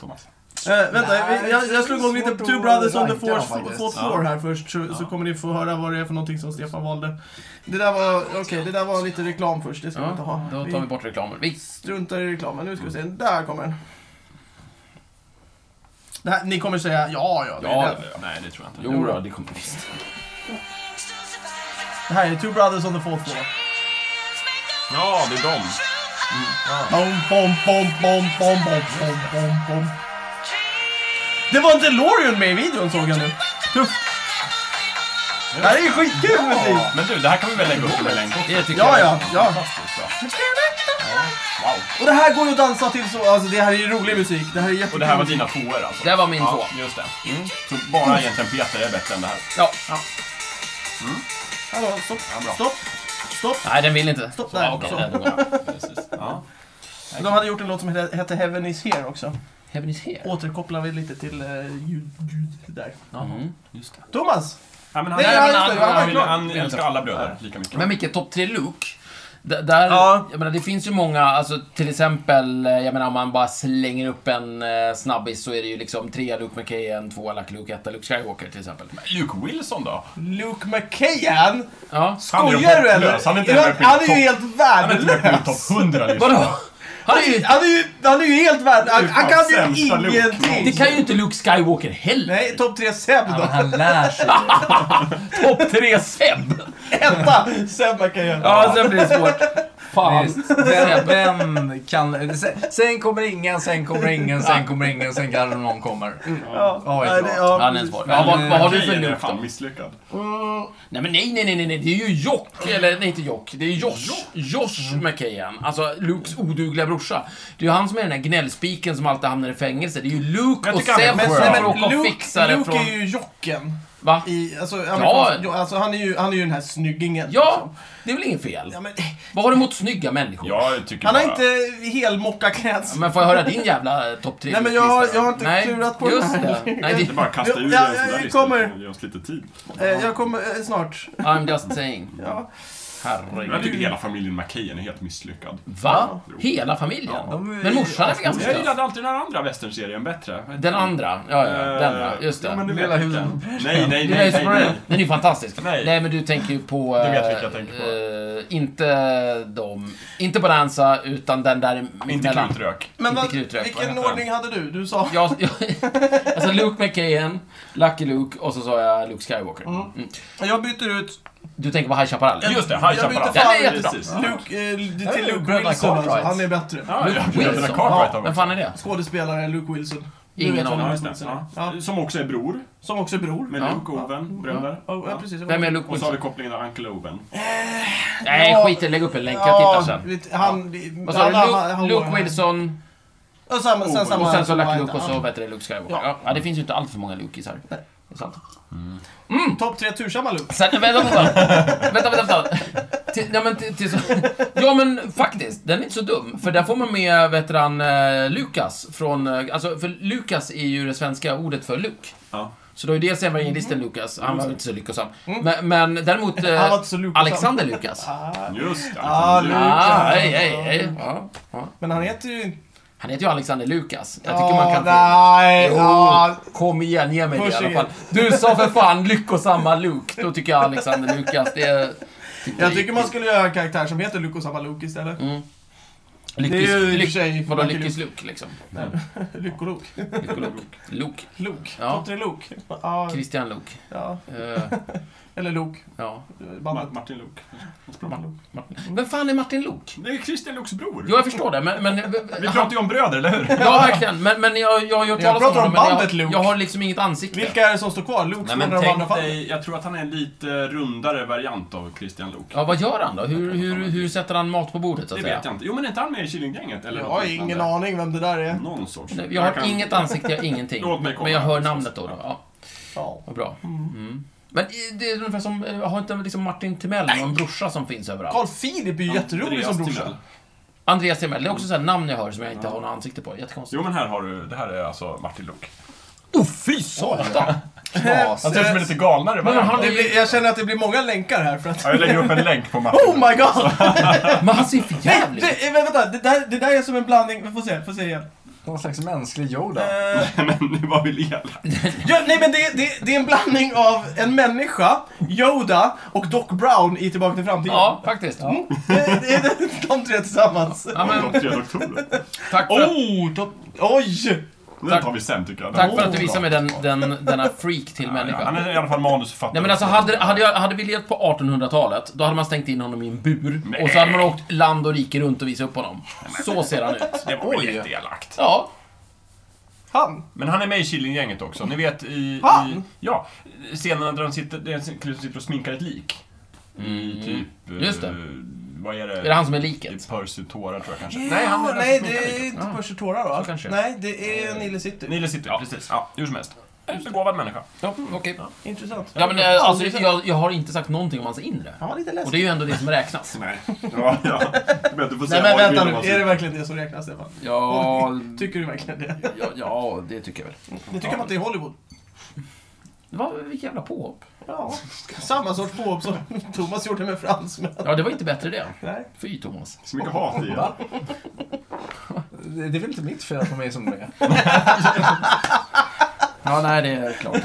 Speaker 4: Thomas?
Speaker 1: Eh, vänta, vi, jag, jag slår igång lite
Speaker 3: Svårt
Speaker 1: Two
Speaker 3: att
Speaker 1: Brothers on the
Speaker 3: ranka dem
Speaker 1: Fourth
Speaker 3: faktiskt.
Speaker 1: fourth Floor här först, så, så kommer ni få höra vad det är för någonting som Stefan valde. Det där var, okej, det där var lite reklam först, det ska vi inte
Speaker 2: Ja,
Speaker 1: ha.
Speaker 2: då tar vi bort reklamen. Vi,
Speaker 1: struntar i reklamen, nu ska vi se, där kommer den. Det här, ni kommer säga ja, ja, det, är den.
Speaker 4: Nej, det tror jag inte.
Speaker 2: Jo då,
Speaker 4: det kommer visst.
Speaker 1: det här är Two Brothers on the Fourth Floor.
Speaker 4: Ja, det är dem.
Speaker 1: Bom, bom, bom, bom, bom, bom, bom, bom, bom. Det var en DeLorean med i videon såg jag nu. Tufft. Det här är ju skitkul musik!
Speaker 4: Men du, det här kan vi väl lägga upp med länk också?
Speaker 2: det tycker
Speaker 1: Ja,
Speaker 2: jag.
Speaker 1: ja, ja.
Speaker 4: Wow.
Speaker 1: Och det här går ju att dansa till så, alltså det här är ju rolig musik. Det här är jättekul.
Speaker 4: Och det här var dina tvåor alltså?
Speaker 2: Det här var min två.
Speaker 4: Ja, just det. Mm. Så bara egentligen Peter är bättre än det här.
Speaker 2: Ja.
Speaker 1: Hallå, stopp,
Speaker 4: Ja, bra.
Speaker 1: stopp, stopp.
Speaker 2: Nej, den vill inte.
Speaker 1: Stopp
Speaker 2: Så,
Speaker 1: där.
Speaker 2: ja, okej,
Speaker 1: Så.
Speaker 2: där, då går jag.
Speaker 4: Precis. Ja.
Speaker 1: De hade gjort en låt som hette- hette Heaven is here också.
Speaker 2: Heaven is here.
Speaker 1: Återkopplar vi lite till eh, ljud, ljud där.
Speaker 2: Mhm.
Speaker 1: Thomas!
Speaker 4: Nej, men han,
Speaker 1: Nej,
Speaker 4: Nej,
Speaker 1: ja,
Speaker 4: han,
Speaker 1: just det,
Speaker 4: han,
Speaker 1: ja,
Speaker 4: vill-
Speaker 1: klart.
Speaker 4: han älskar alla bröder lika mycket.
Speaker 2: Men Micke, topp tre Luke. D- Där,
Speaker 1: Ja.
Speaker 2: jag menar, det finns ju många, alltså till exempel, eh, jag menar om man bara slänger upp en eh, snabbis så är det ju liksom tre Luke McKayen, två Lucky Luke, etta Luke Skywalker till exempel.
Speaker 4: Luke Wilson då?
Speaker 1: Luke McKayan!
Speaker 2: Ja.
Speaker 4: Han är ju
Speaker 1: Skojar du eller?
Speaker 4: hopplös. Han är inte
Speaker 1: Ja,
Speaker 4: med på
Speaker 1: han är ju
Speaker 4: topp-
Speaker 1: helt
Speaker 4: Han är inte med på min
Speaker 1: värdelös!
Speaker 4: topp 100 liksom.
Speaker 2: Vadå? Han är ju,
Speaker 1: Han är ju, han är ju helt värdelös! Han,
Speaker 4: Det är
Speaker 1: han
Speaker 4: fan
Speaker 1: kan ju
Speaker 4: sämsta Luke.
Speaker 2: det
Speaker 1: ingenting!
Speaker 2: kan ju inte Luke Skywalker heller.
Speaker 1: Nej, topp tre Seb
Speaker 3: Men
Speaker 1: då.
Speaker 3: han lär sig.
Speaker 2: Topp tre Seb.
Speaker 1: Etta Seb McKayan.
Speaker 2: Ja, sen blir det svårt. Fan.
Speaker 3: Visst. Vem, vem kan... Sen, sen kommer ingen, sen kommer ingen, sen kommer ingen, sen kanske någon kommer.
Speaker 2: Mm.
Speaker 1: Ja,
Speaker 3: Ja,
Speaker 1: nej, det- ja,
Speaker 2: Han är en
Speaker 1: precis.
Speaker 2: svår. Ja, vad, vad har du för
Speaker 4: Grejen är
Speaker 2: Luke
Speaker 4: fan
Speaker 2: då?
Speaker 4: misslyckad.
Speaker 2: Nej men nej, nej, nej, nej, nej, det är ju Jock, eller nej inte Jock, det är Josh, Josh
Speaker 1: Mm.
Speaker 2: McKayan, alltså Lukes odugliga brorsa. Det är ju han som är den där gnällspiken som alltid hamnar i fängelse. Det är ju Luke
Speaker 4: Jag
Speaker 2: och
Speaker 4: tycker han är
Speaker 2: Seb
Speaker 1: Men,
Speaker 4: bäst.
Speaker 2: som
Speaker 4: Wow.
Speaker 1: nej,
Speaker 2: får
Speaker 1: men
Speaker 2: åka och fixa
Speaker 1: Luke,
Speaker 2: det
Speaker 1: Luke är
Speaker 2: från...
Speaker 1: ju jocken.
Speaker 2: Va?
Speaker 1: I, alltså, amerikansk- jo, alltså, han, är ju, han är ju den här snyggingen.
Speaker 2: Ja,
Speaker 1: liksom.
Speaker 2: det är väl inget fel?
Speaker 1: Ja, men,
Speaker 2: Vad har du emot snygga människor?
Speaker 4: Jag tycker
Speaker 1: han har
Speaker 4: bara-
Speaker 1: inte helmockaklädsel.
Speaker 2: Men får jag höra din jävla eh, topp tre
Speaker 1: Nej, men jag har- jag har inte
Speaker 2: Nej,
Speaker 1: klurat på
Speaker 2: just
Speaker 1: den här.
Speaker 2: det. Nej,
Speaker 4: Det är
Speaker 2: det,
Speaker 4: bara att kasta
Speaker 1: Ja,
Speaker 4: ur
Speaker 1: ja,
Speaker 4: en sån
Speaker 1: ja,
Speaker 4: där
Speaker 1: kommer.
Speaker 4: lista. Det Ge oss lite tid.
Speaker 1: Eh, jag kommer eh, snart.
Speaker 2: I'm just saying.
Speaker 1: Ja.
Speaker 4: Jag
Speaker 2: Herregud.
Speaker 4: tycker hela familjen McKayen är helt misslyckad.
Speaker 2: Va? Hela familjen?
Speaker 3: de är-
Speaker 2: Men morsan är väl ganska
Speaker 4: Jag
Speaker 2: stöd?
Speaker 4: gillade alltid den här andra westernserien bättre.
Speaker 2: Den andra, ja, ja, den andra, just det.
Speaker 4: Eh, Ja, men du
Speaker 3: Lilla
Speaker 4: vet vilken. Nej, nej,
Speaker 2: Det är
Speaker 4: nej, nej,
Speaker 2: ju
Speaker 4: nej.
Speaker 2: Den är ju fantastisk.
Speaker 4: Nej.
Speaker 2: men du tänker ju på...
Speaker 4: Du vet vilka jag
Speaker 2: eh,
Speaker 4: tänker
Speaker 2: eh, inte de... Inte Bonanza, utan den där
Speaker 4: Inte
Speaker 2: mittemellan.
Speaker 4: krutrök.
Speaker 1: Men
Speaker 2: Inte
Speaker 1: vad-
Speaker 2: krutrök, vad
Speaker 1: vilken
Speaker 2: heter
Speaker 1: ordning hade du? Du sa...
Speaker 2: Jag, jag, alltså Luke McKayen, Lucky Luke och så sa jag Luke Skywalker. Mm.
Speaker 1: Jag byter ut
Speaker 2: Du tänker på High Chaparral?
Speaker 4: Just det,
Speaker 1: Jag
Speaker 4: High
Speaker 1: byter
Speaker 4: Chaparral.
Speaker 1: fan
Speaker 2: Den är jättebra.
Speaker 4: Precis.
Speaker 1: Luke, eh,
Speaker 3: är
Speaker 1: till
Speaker 3: ju
Speaker 1: Luke
Speaker 3: bröderna
Speaker 1: Wilson. Alltså.
Speaker 3: Cartwright.
Speaker 1: Han är bättre.
Speaker 4: Ja,
Speaker 2: Luke
Speaker 4: ja, Bröderna
Speaker 2: Wilson?
Speaker 4: Cartwright har
Speaker 2: Vem
Speaker 4: varit
Speaker 2: fan är det?
Speaker 1: Skådespelare Luke Wilson. Du
Speaker 2: Ingen
Speaker 1: vet vem
Speaker 2: aning.
Speaker 1: Luke
Speaker 4: just det,
Speaker 1: Wilson är.
Speaker 4: ja.
Speaker 1: Ja.
Speaker 4: Som också är bror.
Speaker 1: Som också är bror.
Speaker 4: Med
Speaker 2: Ja.
Speaker 4: Luke och Owen, bröder.
Speaker 1: Ja, ja, precis.
Speaker 2: Vem är Luke
Speaker 4: Och så har vi
Speaker 2: Wilson?
Speaker 4: kopplingen av Uncle Owen.
Speaker 2: Nej,
Speaker 1: Ja.
Speaker 2: skit i det. Lägg upp en länk. Jag
Speaker 1: Ja,
Speaker 2: tittar sen.
Speaker 1: vet- han...
Speaker 2: Vad sa du?
Speaker 1: han- han-
Speaker 2: Luke,
Speaker 1: han-
Speaker 2: Luke Wilson Oh,
Speaker 1: Och samma, sen samma...
Speaker 2: och sen så Lucky
Speaker 1: samma-
Speaker 2: Luke och så
Speaker 1: ja.
Speaker 2: vet du, Luke Skywalker.
Speaker 1: Ja.
Speaker 2: Ja. ja, det finns ju inte allt för många Lukisar. Det är sant.
Speaker 1: Topp tre tursamma Luke.
Speaker 2: Sen, vänta, vänta, vänta, vänta. Till, ja, men, till, till, så, ja men faktiskt, den är inte så dum. För där får man med veteran eh, Lukas från, eh, alltså för Lukas är ju det svenska ordet för Luke.
Speaker 4: Ja.
Speaker 2: Så då är dels evangelisten Lukas, han var väl inte så lyckosam. Men, men däremot eh,
Speaker 1: Mm. Han var inte så lyckosam.
Speaker 2: Alexander Lukas. Ah,
Speaker 4: Just det.
Speaker 1: Ah, Luke.
Speaker 2: hej, hej, hej. Ja, ja.
Speaker 1: Men han heter ju inte...
Speaker 2: Han heter ju Alexander Lukas. Jag tycker
Speaker 1: Ja,
Speaker 2: man kan få...
Speaker 1: Nej,
Speaker 2: Jo,
Speaker 1: ja.
Speaker 2: Eh, kom igen, ge mig det i
Speaker 1: Push
Speaker 2: alla
Speaker 1: igen.
Speaker 2: fall. Du sa för fan lyckosamma Luke. Då tycker jag Alexander Lukas, det är...
Speaker 1: Jag tycker man skulle göra en karaktär som heter Luke och samma Luke istället. Det
Speaker 2: Lyckis,
Speaker 1: är ju i och för
Speaker 2: lyck,
Speaker 1: sig...
Speaker 2: vadå
Speaker 1: Lucky
Speaker 2: lyckis Luke liksom?
Speaker 1: Luke och Luke.
Speaker 2: Lyckolok. Luke.
Speaker 1: Luke.
Speaker 2: Ja.
Speaker 1: Topp tre Luke. Ja.
Speaker 2: Christian Luke.
Speaker 1: ja.
Speaker 2: Eh,
Speaker 1: Eller Luke.
Speaker 2: Ja.
Speaker 1: Bandet.
Speaker 4: Ma- Martin Luuk.
Speaker 2: Vem fan är Martin Lok?
Speaker 4: Det är Christian Luuks bror.
Speaker 2: Jo, jag förstår det, men... men
Speaker 4: Vi pratar ju om bröder, eller hur?
Speaker 2: Ja, verkligen. Men, men jag, jag har ju hört
Speaker 1: Jag
Speaker 2: talas
Speaker 1: pratar om
Speaker 2: honom, men
Speaker 1: bandet
Speaker 2: jag,
Speaker 1: Luke.
Speaker 2: jag har liksom inget ansikte.
Speaker 1: Vilka är det som står kvar? Luke
Speaker 4: Nej,
Speaker 1: som
Speaker 4: men
Speaker 1: de andra
Speaker 4: tänk
Speaker 1: fallen.
Speaker 4: dig, jag tror att han är en lite rundare variant av Christian Luuk.
Speaker 2: Ja, vad gör han då? Hur, hur, hur sätter han mat på bordet, så att
Speaker 4: Det
Speaker 2: säga?
Speaker 4: vet jag inte. Jo, men är inte han med i Killinggänget? Eller
Speaker 1: Jag
Speaker 4: något
Speaker 1: har
Speaker 4: liknande?
Speaker 1: ingen aning vem det där är.
Speaker 4: Någon sorts.
Speaker 2: Nej, Jag har
Speaker 4: kan-
Speaker 2: inget ansikte, jag har ingenting.
Speaker 4: Låt mig kolla.
Speaker 2: Men jag hör namnet då. då. Ja,
Speaker 1: Ja.
Speaker 2: vad bra. Mm. Men eh, det är ungefär som, eh, har inte liksom Martin Timell någon brorsa som finns överallt?
Speaker 1: Carl Philip är ju jätterolig
Speaker 4: Andreas
Speaker 1: som brorsa.
Speaker 4: Timell.
Speaker 2: Andreas Timell, det är också sådär namn jag hör som jag inte har något ansikte på. Jättekonstigt.
Speaker 4: Jo, men här har du. Det här är alltså Martin Luuk.
Speaker 2: Åh, fy satan!
Speaker 4: Han ser ut som en lite galnare
Speaker 2: Men han
Speaker 4: variant.
Speaker 1: Det blir, jag känner att det blir många länkar här för att...
Speaker 4: Ja, jag lägger upp en länk på Martin.
Speaker 1: Oh my god!
Speaker 2: Men han ser för
Speaker 1: Nej,
Speaker 2: jävligt ut.
Speaker 1: det, eh, vänta, det där, det där är som en blandning, vi får se, får se igen.
Speaker 3: Någon slags mänsklig Yoda.
Speaker 1: Eh,
Speaker 4: Men nu var vi elak.
Speaker 1: ja, nej men det, det, det är en blandning av en människa, Yoda och Doc Brown i Tillbaka till framtiden.
Speaker 2: Ja, faktiskt.
Speaker 1: Mm. Det, det, det, de tre tillsammans.
Speaker 2: Ja, men,
Speaker 4: De tre doktorer.
Speaker 2: tack för att,
Speaker 1: Oh, de, oj!
Speaker 4: Den
Speaker 2: Tack.
Speaker 4: tar vi sen, tycker jag. Den
Speaker 2: tack för
Speaker 4: var
Speaker 2: att du visade mig den, den, denna freak till
Speaker 4: bra. Oh! Ja,
Speaker 2: människa.
Speaker 4: Han är i alla fall manusförfattare.
Speaker 2: Nej men alltså, hade, hade, jag, hade vi levt på 1800-talet, då hade man stängt in honom i en bur.
Speaker 4: Nej.
Speaker 2: Och så hade man åkt land och rike runt och visat upp honom. Så ser han ut.
Speaker 4: Det var väl jätteelakt.
Speaker 2: Ja.
Speaker 1: Han.
Speaker 4: Men han är med i Killinggänget också. Ni vet i...
Speaker 2: Ah!
Speaker 1: Han?
Speaker 4: i ja, scenen där de sitter, det är en kille som sitter och sminkar ett lik. I typ... eh,
Speaker 2: Mm, Just det.
Speaker 4: Vad är det?
Speaker 2: Är det han som är
Speaker 4: I
Speaker 2: liket?
Speaker 4: Percy tårar tror jag kanske.
Speaker 1: Nej, han
Speaker 4: den
Speaker 1: nej det
Speaker 4: som sminkar
Speaker 1: är
Speaker 4: liket.
Speaker 1: inte Percy Tårar va?
Speaker 2: Så kanske.
Speaker 1: Nej, det är Nile City.
Speaker 4: Nile City, ja precis. Ja, hur som helst. En begåvad människa.
Speaker 2: Ja, okej.
Speaker 1: Intressant.
Speaker 2: Ja men eh, alltså,
Speaker 1: Aldrig-
Speaker 2: jag, jag har inte sagt någonting om hans inre.
Speaker 1: Han var lite
Speaker 2: Och
Speaker 1: läskig.
Speaker 2: det är ju ändå det som räknas.
Speaker 4: Nej. Ja, ja. Men du får
Speaker 1: Nej
Speaker 4: säga
Speaker 1: men
Speaker 4: vad du
Speaker 1: vänta
Speaker 4: vill
Speaker 1: nu,
Speaker 4: om hans-
Speaker 1: är det verkligen det som räknas Stefan?
Speaker 2: Ja,
Speaker 1: Tycker du verkligen det?
Speaker 2: ja, ja, det tycker jag väl.
Speaker 1: Det tycker man inte i Hollywood.
Speaker 2: Det var vilket jävla påhopp.
Speaker 1: Ja, samma sorts påhopp som Thomas gjorde med fransmän.
Speaker 2: Ja, det var inte bättre det.
Speaker 1: Nej.
Speaker 2: Fy Thomas.
Speaker 4: Så mycket hat i det.
Speaker 3: Va? Det det är väl inte mitt fel att de är som de är?
Speaker 2: Ja, nej, det är klart.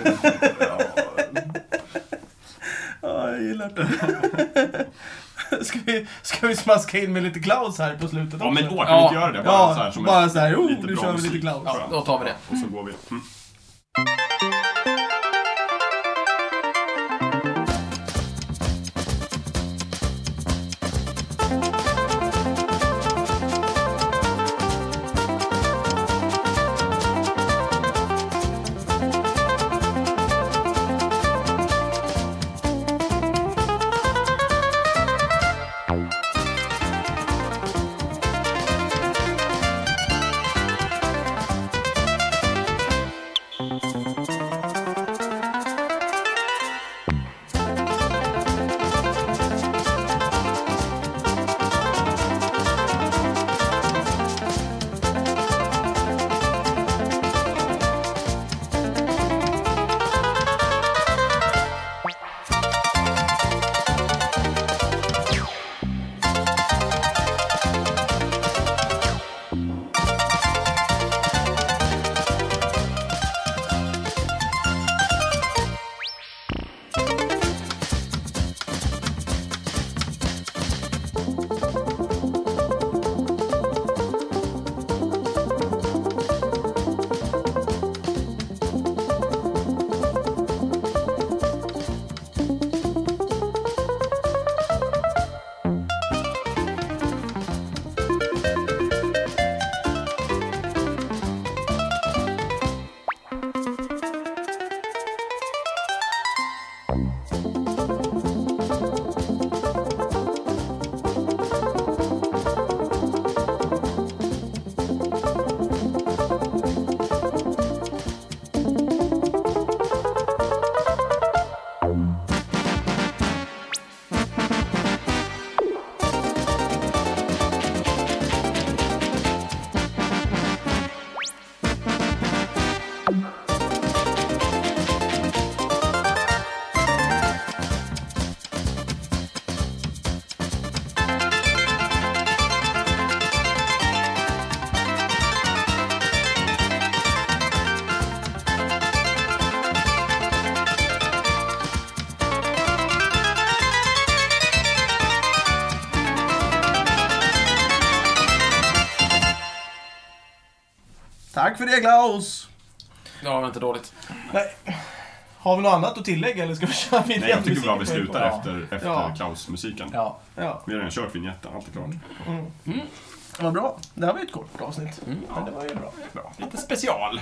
Speaker 1: Ja, jag gillar det. ska, vi, ska vi smaska in med lite clowns här på slutet
Speaker 4: Ja men
Speaker 1: också?
Speaker 4: då kan vi
Speaker 2: Ja.
Speaker 4: inte göra det. Bara så här,
Speaker 1: Ja,
Speaker 4: som
Speaker 1: bara
Speaker 4: en-
Speaker 1: så här, oh,
Speaker 4: lite
Speaker 1: nu
Speaker 4: bra
Speaker 1: kör vi lite
Speaker 4: musik.
Speaker 1: clowns.
Speaker 2: Ja, då tar vi det.
Speaker 4: Och så går vi. Mm.
Speaker 1: Tack för det Klaus!
Speaker 2: Ja, det var inte dåligt.
Speaker 1: Nej. Har vi något annat att tillägga eller ska vi köra
Speaker 4: Nej, jag tycker bara vi slutar
Speaker 3: Ja.
Speaker 4: efter, efter
Speaker 1: Ja.
Speaker 4: Klaus-musiken.
Speaker 3: Ja.
Speaker 1: Ja, Mm.
Speaker 4: Vi har redan kört vignetten, allt är klart. Mm.
Speaker 1: vad bra. Det här var ju ett kort avsnitt. Men det var ju bra.
Speaker 4: Bra. Lite special.